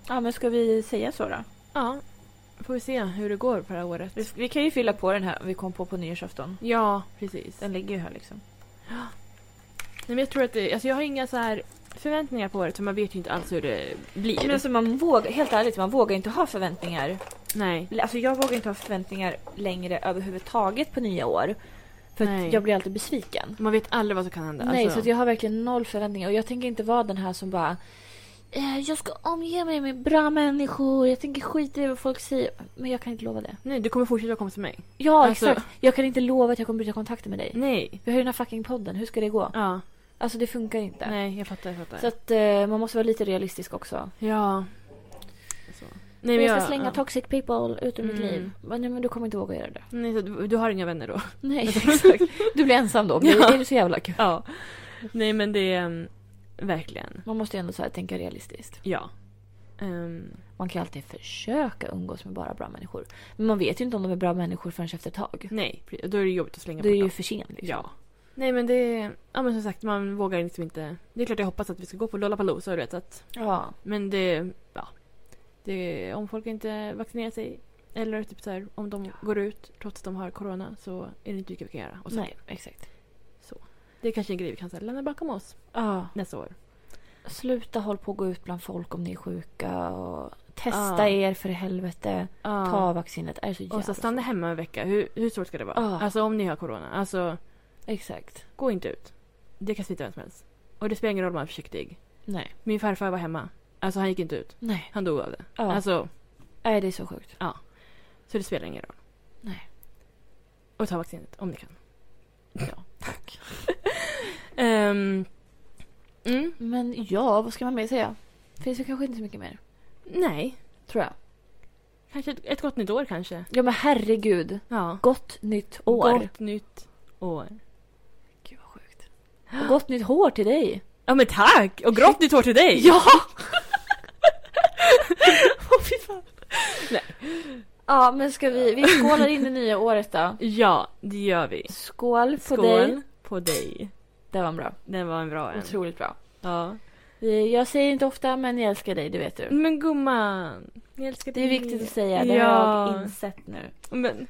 A: ja, men ska vi säga så då?
B: Ja. Får vi se hur det går på det här året.
A: Vi, vi kan ju fylla på den här om vi kom på på nyårsafton.
B: Ja, precis.
A: Den ligger ju här liksom.
B: Nej, men jag tror att det, alltså jag har inga så här förväntningar på året för man vet ju inte alls hur det blir.
A: Men alltså man vågar, helt ärligt, man vågar inte ha förväntningar.
B: Nej.
A: Alltså jag vågar inte ha förväntningar längre överhuvudtaget på nya år. För
B: Nej.
A: att jag blir alltid besviken.
B: Man vet aldrig vad som kan hända.
A: Nej,
B: alltså.
A: så att jag har verkligen noll förväntningar. Och jag tänker inte vara den här som bara... "Eh, Jag ska omge mig med bra människor. Jag tänker skita i vad folk säger. Men jag kan inte lova det.
B: Nej, du kommer fortsätta komma till mig.
A: Ja,
B: Alltså-
A: exakt. Jag kan inte lova att jag kommer bryta kontakten med dig.
B: Nej.
A: Vi har ju den här fucking podden. Hur ska det gå?
B: Ja.
A: Alltså det funkar inte.
B: Nej, jag fattar. Jag fattar.
A: Så att eh, man måste vara lite realistisk också.
B: Ja. Så. Nej,
A: jag
B: men
A: ska slänga
B: ja.
A: toxic people ut ur mitt
B: Mm.
A: liv. Men, nej, men du kommer inte våga göra det.
B: Nej, så du, du har inga vänner då?
A: Nej, exakt. Du blir ensam då. Det
B: Ja.
A: är ju så jävla kul.
B: Ja. Nej, men det är mm, verkligen.
A: Man måste ju ändå så här tänka realistiskt.
B: Ja. Ehm,
A: Man kan ju alltid försöka umgås med bara bra människor. Men man vet ju inte om de är bra människor förrän efter ett tag.
B: nej, pre- då är det jobbigt att slänga
A: Det är
B: bort
A: ju
B: dem.
A: för sent. Liksom.
B: Ja. Nej, men det... Ja, men som sagt, man vågar liksom inte... Det är klart jag hoppas att vi ska gå på Lollapalooza, du vet. Att,
A: ja.
B: men det... Ja. Det, om folk inte vaccinerar sig eller typ så här, om de går ut trots att de har corona så är det inte mycket vi kan göra. Och så,
A: Nej, exakt.
B: Det är kanske är en grej vi kan så här, lämna bakom oss
A: Ja.
B: nästa år.
A: Sluta håll på att gå ut bland folk om ni är sjuka. Och testa
B: Ja.
A: er för i helvete. Ta vaccinet. Det är så jävla Ah.
B: Och så stanna hemma en vecka. Hur, hur svårt ska det vara?
A: Ja.
B: Alltså om ni har corona. Alltså,
A: Exakt.
B: gå inte ut. Det kan smitta vem som helst. Och det spelar ingen roll om man är försiktig.
A: Nej.
B: Min farfar var hemma. Alltså han gick inte ut.
A: Nej.
B: Han dog av det.
A: Ja.
B: Alltså,
A: Nej, det är så sjukt.
B: så det spelar ingen roll.
A: Nej.
B: Och ta vaccinet om ni kan.
A: Ja, tack.
B: Ehm, mm,
A: Men ja, vad ska man mer säga? Finns det kanske inte så mycket mer.
B: nej.
A: Tror jag.
B: Kanske ett, ett gott nytt år kanske.
A: Ja, men herregud.
B: Ja.
A: Gott nytt år.
B: Gott nytt år.
A: Gud vad sjukt. Och gott nytt hår till dig.
B: Ja men tack! Och grått nytt hår till dig!
A: Ja! Åh fy fan.
B: Nej.
A: Ja men ska vi, vi skålar in det nya året då.
B: Ja, det gör vi.
A: Skål på
B: Skål
A: dig.
B: på dig.
A: Det var bra.
B: Den var en bra en.
A: Otroligt bra.
B: Ja.
A: Vi- Jag säger inte ofta men jag älskar dig, det vet du.
B: Men gumman. Jag älskar
A: Det är viktigt att säga, det har jag insett nu.
B: Men,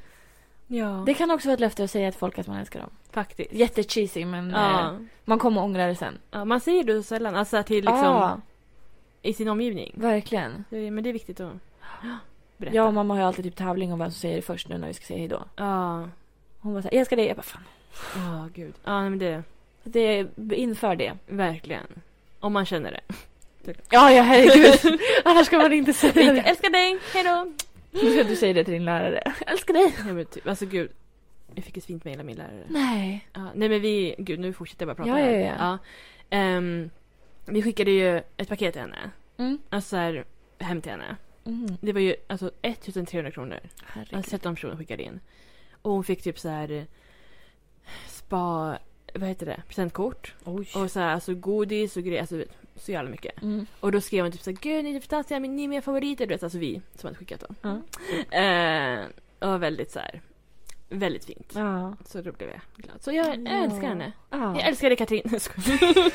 B: ja,
A: Det kan också vara ett löfte att säga till folk att man älskar dem.
B: faktiskt.
A: Jättecheesy men eh,
B: Ja.
A: man kommer ångra det sen.
B: ja, man säger det så sällan. Alltså till liksom
A: Ja,
B: i sin omgivning.
A: verkligen.
B: Det är- Men det är viktigt att berätta.
A: Jag och mamma har ju alltid typ tävling om vem som säger det först nu när vi ska säga hejdå.
B: Ja.
A: Hon bara såhär, jag älskar dig. Jag bara, fan.
B: Ja, gud. Ja, nej, men det
A: Det, inför det.
B: verkligen. Om man känner det.
A: Ja, ja herregud. Annars ska man inte säga
B: Jag
A: det.
B: älskar dig, hejdå!
A: Du säger det till din lärare. Älskar dig.
B: Ja, men typ, alltså gud. Jag fick ett fint mejl av min lärare.
A: Nej.
B: Ja, nej men vi, gud nu fortsätter jag bara prata
A: Ja,
B: här.
A: ja, ja.
B: Ehm, vi skickade ju ett paket till henne.
A: Mm.
B: Alltså så här, hem till henne. Det var ju alltså 1300 kronor. Alltså
A: Herregud.
B: 13 personer skickade in. Och hon fick typ så här eh, spa, vad heter det, presentkort.
A: Oj.
B: Och så här, alltså godis och grejer. Alltså, så jävla mycket.
A: Mm.
B: Och då skrev han typ såhär, gud ni är fantastiska, men ni är mina favoriter. Du vet, alltså vi som hade skickat dem.
A: Ja.
B: Eh, och var väldigt såhär, väldigt fint.
A: Ja.
B: Så då blev jag glad. Så jag
A: Ja.
B: älskar henne. Jag
A: ja.
B: älskar dig Katrin. Jag skojar.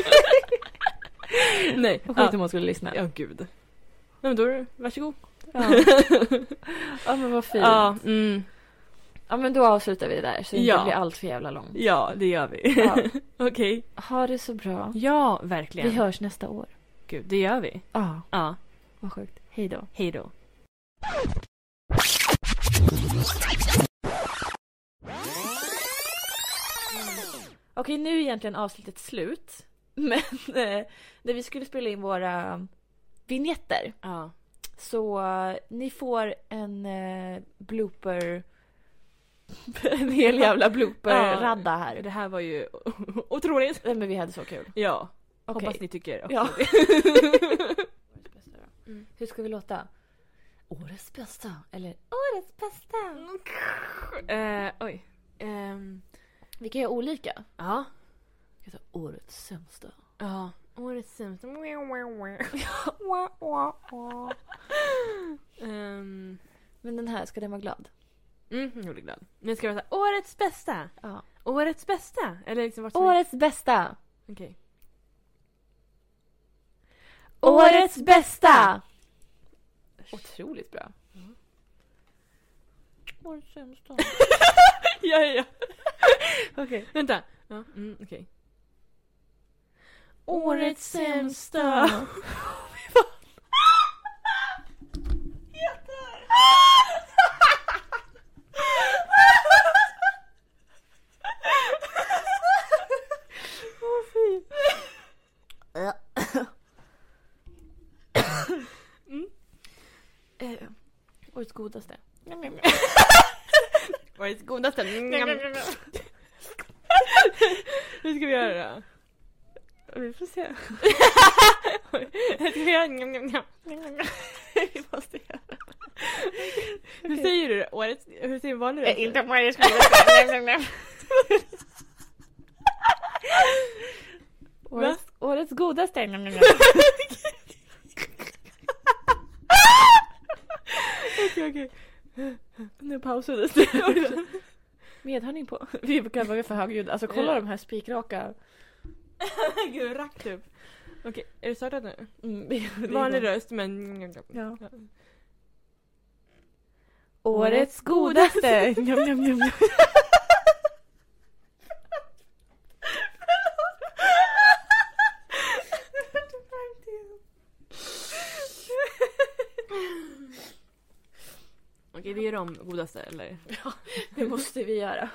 B: Nej.
A: Vad
B: ja.
A: sjukt om hon skulle lyssna.
B: Ja, gud. Nej, men då är det- varsågod.
A: Ja. ja men vad fint. Ja.
B: Ja, mm,
A: men då avslutar vi där så det
B: Ja.
A: inte blir allt för jävla långt.
B: ja, det gör vi.
A: Ja.
B: Okej.
A: Ha det så bra.
B: Ja, verkligen.
A: Vi hörs nästa år.
B: Gud, det gör vi.
A: Ja,
B: Ja,
A: vad sjukt. Hej då.
B: hej då.
A: Okej, nu är egentligen avsnittet slut. Men eh, när vi skulle spela in våra vignetter
B: Ja.
A: så eh, ni får en eh, blooper... en hel jävla blooper-radda här.
B: Det här var ju otroligt.
A: Nej men vi hade så kul.
B: Ja,
A: Okej.
B: hoppas ni tycker också.
A: Ja.
B: det.
A: Årets bästa då. Hur ska vi låta? Årets bästa. Eller årets bästa.
B: Eh, oj. Ehm,
A: Vi kan göra olika.
B: ja.
A: Vi kan ta årets sämsta.
B: Ja. Årets sämsta. Ehm,
A: Men den här, ska den vara glad?
B: Mm, jag blir glad. Nu ska jag vara såhär, årets bästa!
A: Ja.
B: Årets bästa! Eller liksom vart som
A: Årets bästa.
B: Okej.
A: Årets bästa! Otroligt bra. Årets sämsta.
B: ja, ja, ja.
A: Okej.
B: Vänta. Ja, mm, okej.
A: Årets sämsta.
B: Eh,
A: Årets godaste.
B: Årets godaste. Hur ska vi göra då?
A: Vi får se.
B: Hur ska vi göra? Njam, njam, njam. Vi måste göra. Hur säger du det? Årets... Hur säger
A: Eh,
B: vanlig röst?
D: Inte på årets godaste.
A: Årets, årets godaste.
B: Okej, okej. Nu pausades det.
A: Medhörning på. Vi kan vara för högljudda. Alltså kolla de här spikraka.
B: Gud, rack typ. Okej, är det startat nu?
A: Mm, det är-
B: Vanlig röst men...
A: Ja.
B: Ja.
A: Årets godaste.
B: Njam, njam, njam, njam. Okej, vi gör om godaste eller?
A: Det måste vi göra.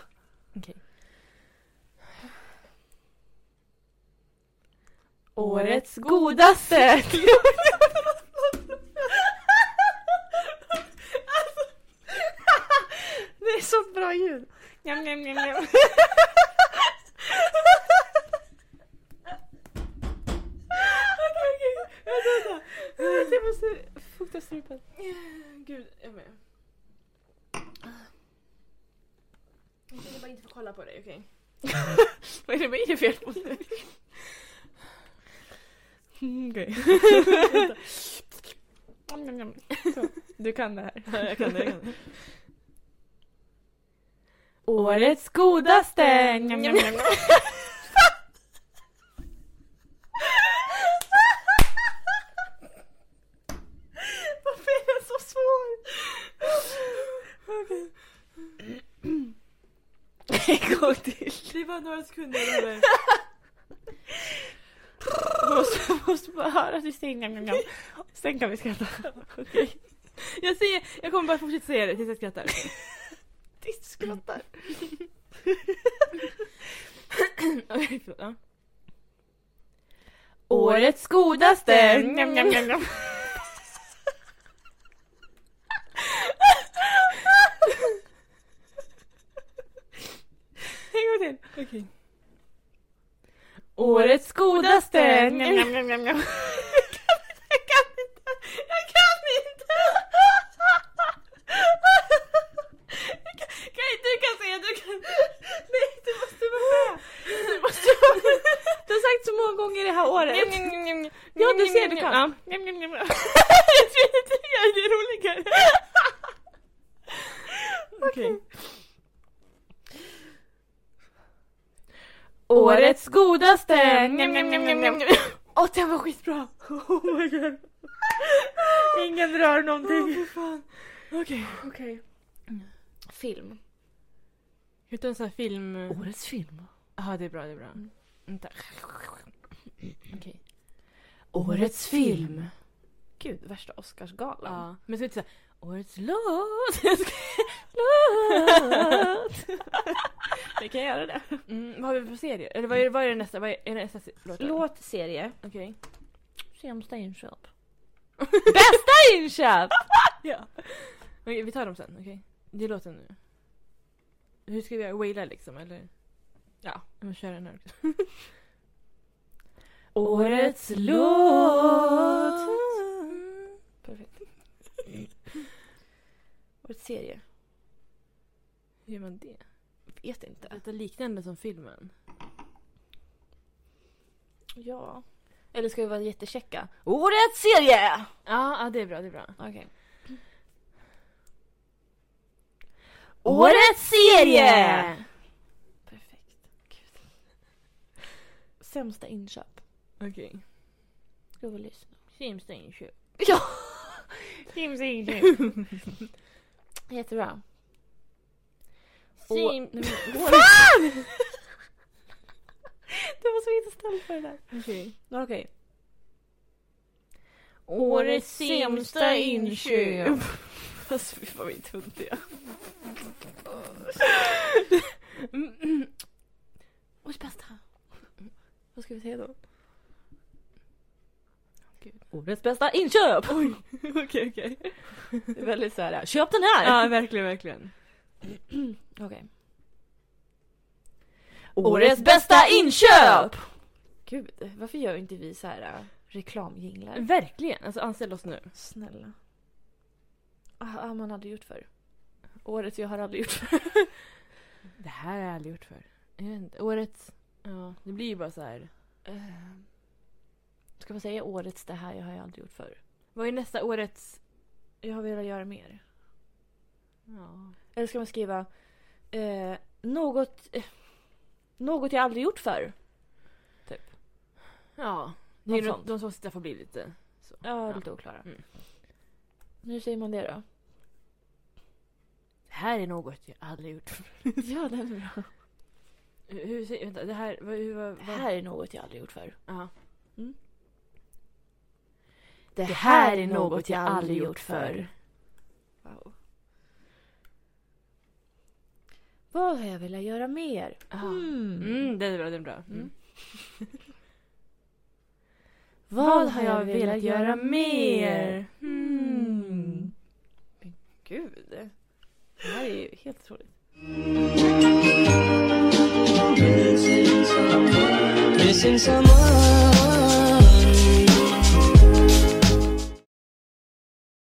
A: Årets godaste. Det är så bra ljud.
D: Njam, njam, njam, njam.
B: Okej, okej. Vänta, vänta. Vänta, Jag måste fukta strupen. Gud, jag med. Jag ville bara inte få kolla på dig, okej? Vad är det med er fel på dig?
A: Okej. Du kan det här.
B: jag kan det, jag kan det.
A: Årets godaste.
D: Njam, njam, njam.
B: Varför är den så svår? Okej.
A: En gång till.
B: Det var några sekunder över.
A: Måste, måste bara höra att du säger njam, njam, njam. Sen kan vi skratta. Okej.
B: Jag, säger, jag kommer bara fortsätta säga det tills jag skrattar.
A: Ditt skrattar.
B: Okej, förlåt, ja.
A: Årets godaste.
D: Njam, njam, njam, njam.
B: En gång till. Okej.
A: Årets godaste.
D: Njam, njam, njam, njam, njam.
B: Jag kan inte! Jag kan inte! Jag kan, kan, du kan säga, du kan... Nej, du måste vara med! Du måste vara med!
A: Du har sagt så många gånger det här året.
B: Njam, njam, njam, njam.
A: Ja, Årets
B: godaste!
D: Njam, njam, njam, njam, njam.
B: Åh, den var skitbra! Oh my god.
A: Ingen rör
B: Åh, fy fan. Okej.
A: Okej. Film.
B: Utan sån här film...
A: Årets film.
B: Ja, det är bra, det är bra. Vänta. Okej.
A: Årets film. Gud, värsta Oscarsgalan.
B: Ja, men så är det såhär, årets låt. låt.
A: Vi kan göra det.
B: Mm, vad har vi för serier? Eller vad är, vad är det nästa? Vad är, är det nästa se- låt? eller?
A: Låt, serie,
B: Okej.
A: sämsta inköp. Bästa inköp!
B: ja. Okej, vi tar dem sen, okej? Det är låten nu. Hur ska vi göra? Waila liksom, eller?
A: Ja.
B: Jag måste köra den här också.
A: Årets låt.
B: Mm.
A: Perfekt. Årets serie.
B: Hur gör man det?
A: Vet inte.
B: Lite liknande som filmen.
A: Ja. Eller ska vi vara jättekäcka? Årets serie!
B: Ja, ja, det är bra, det är bra.
A: Okej. Årets serie! Perfekt. Gud. Sämsta inköp.
B: Okej.
A: Ska vi lyssna?
B: Sämsta inköp.
A: Ja!
D: Kim, Kim, Kim.
A: Jättebra.
B: Sim...
A: Fan! Du var så inte snäll på det där.
B: Okej.
A: Okej. Okay.
B: Årets sämsta inköp. Alltså fy fan vad vi är tuntiga.
A: Årets bästa. Vad ska vi säga då?
B: Gud.
A: Årets bästa inköp! Oj.
B: Okej okej.
A: Det är väldigt så här, köp den här!
B: Ja verkligen verkligen.
A: Okej. Årets bästa inköp! Gud, varför gör inte vi så här äh, reklamjinglar?
B: Verkligen. Alltså anställ oss nu.
A: Snälla. Ah, ah, man hade gjort för. Året jag har aldrig gjort för.
B: Det här har jag aldrig gjort förr. Jag vet inte. Årets... Ja, det blir ju bara så här.
A: Eh, Ska man säga årets det här jag har jag aldrig gjort för.
B: Vad är nästa årets...
A: Jag har velat göra mer.
B: Ja.
A: Eller ska man skriva eh, något, eh, något jag aldrig gjort för.
B: Ja. Det
A: Något
B: är de,
A: sånt.
B: de som sitter får bli lite...
A: Ja,
B: Ja.
A: lite oklara.
B: Mm.
A: Hur säger man det då?
B: Det här är något jag aldrig gjort förr.
A: ja, det är bra.
B: Hur- Hur säger... Vänta, det här... Vad, hur, vad,
A: Det
B: vad?
A: här är något jag aldrig gjort för.
B: Ja.
A: Mm.
B: Det
A: här är något jag aldrig gjort förr. Wow. Vad har jag velat göra mer?
B: Ja.
A: Mm.
B: Mm, den är bra, den är bra.
A: Mm.
B: Mm.
A: Vad har jag velat göra mer?
B: Mm.
A: Gud. Det här är ju helt otroligt.
C: Missing someone.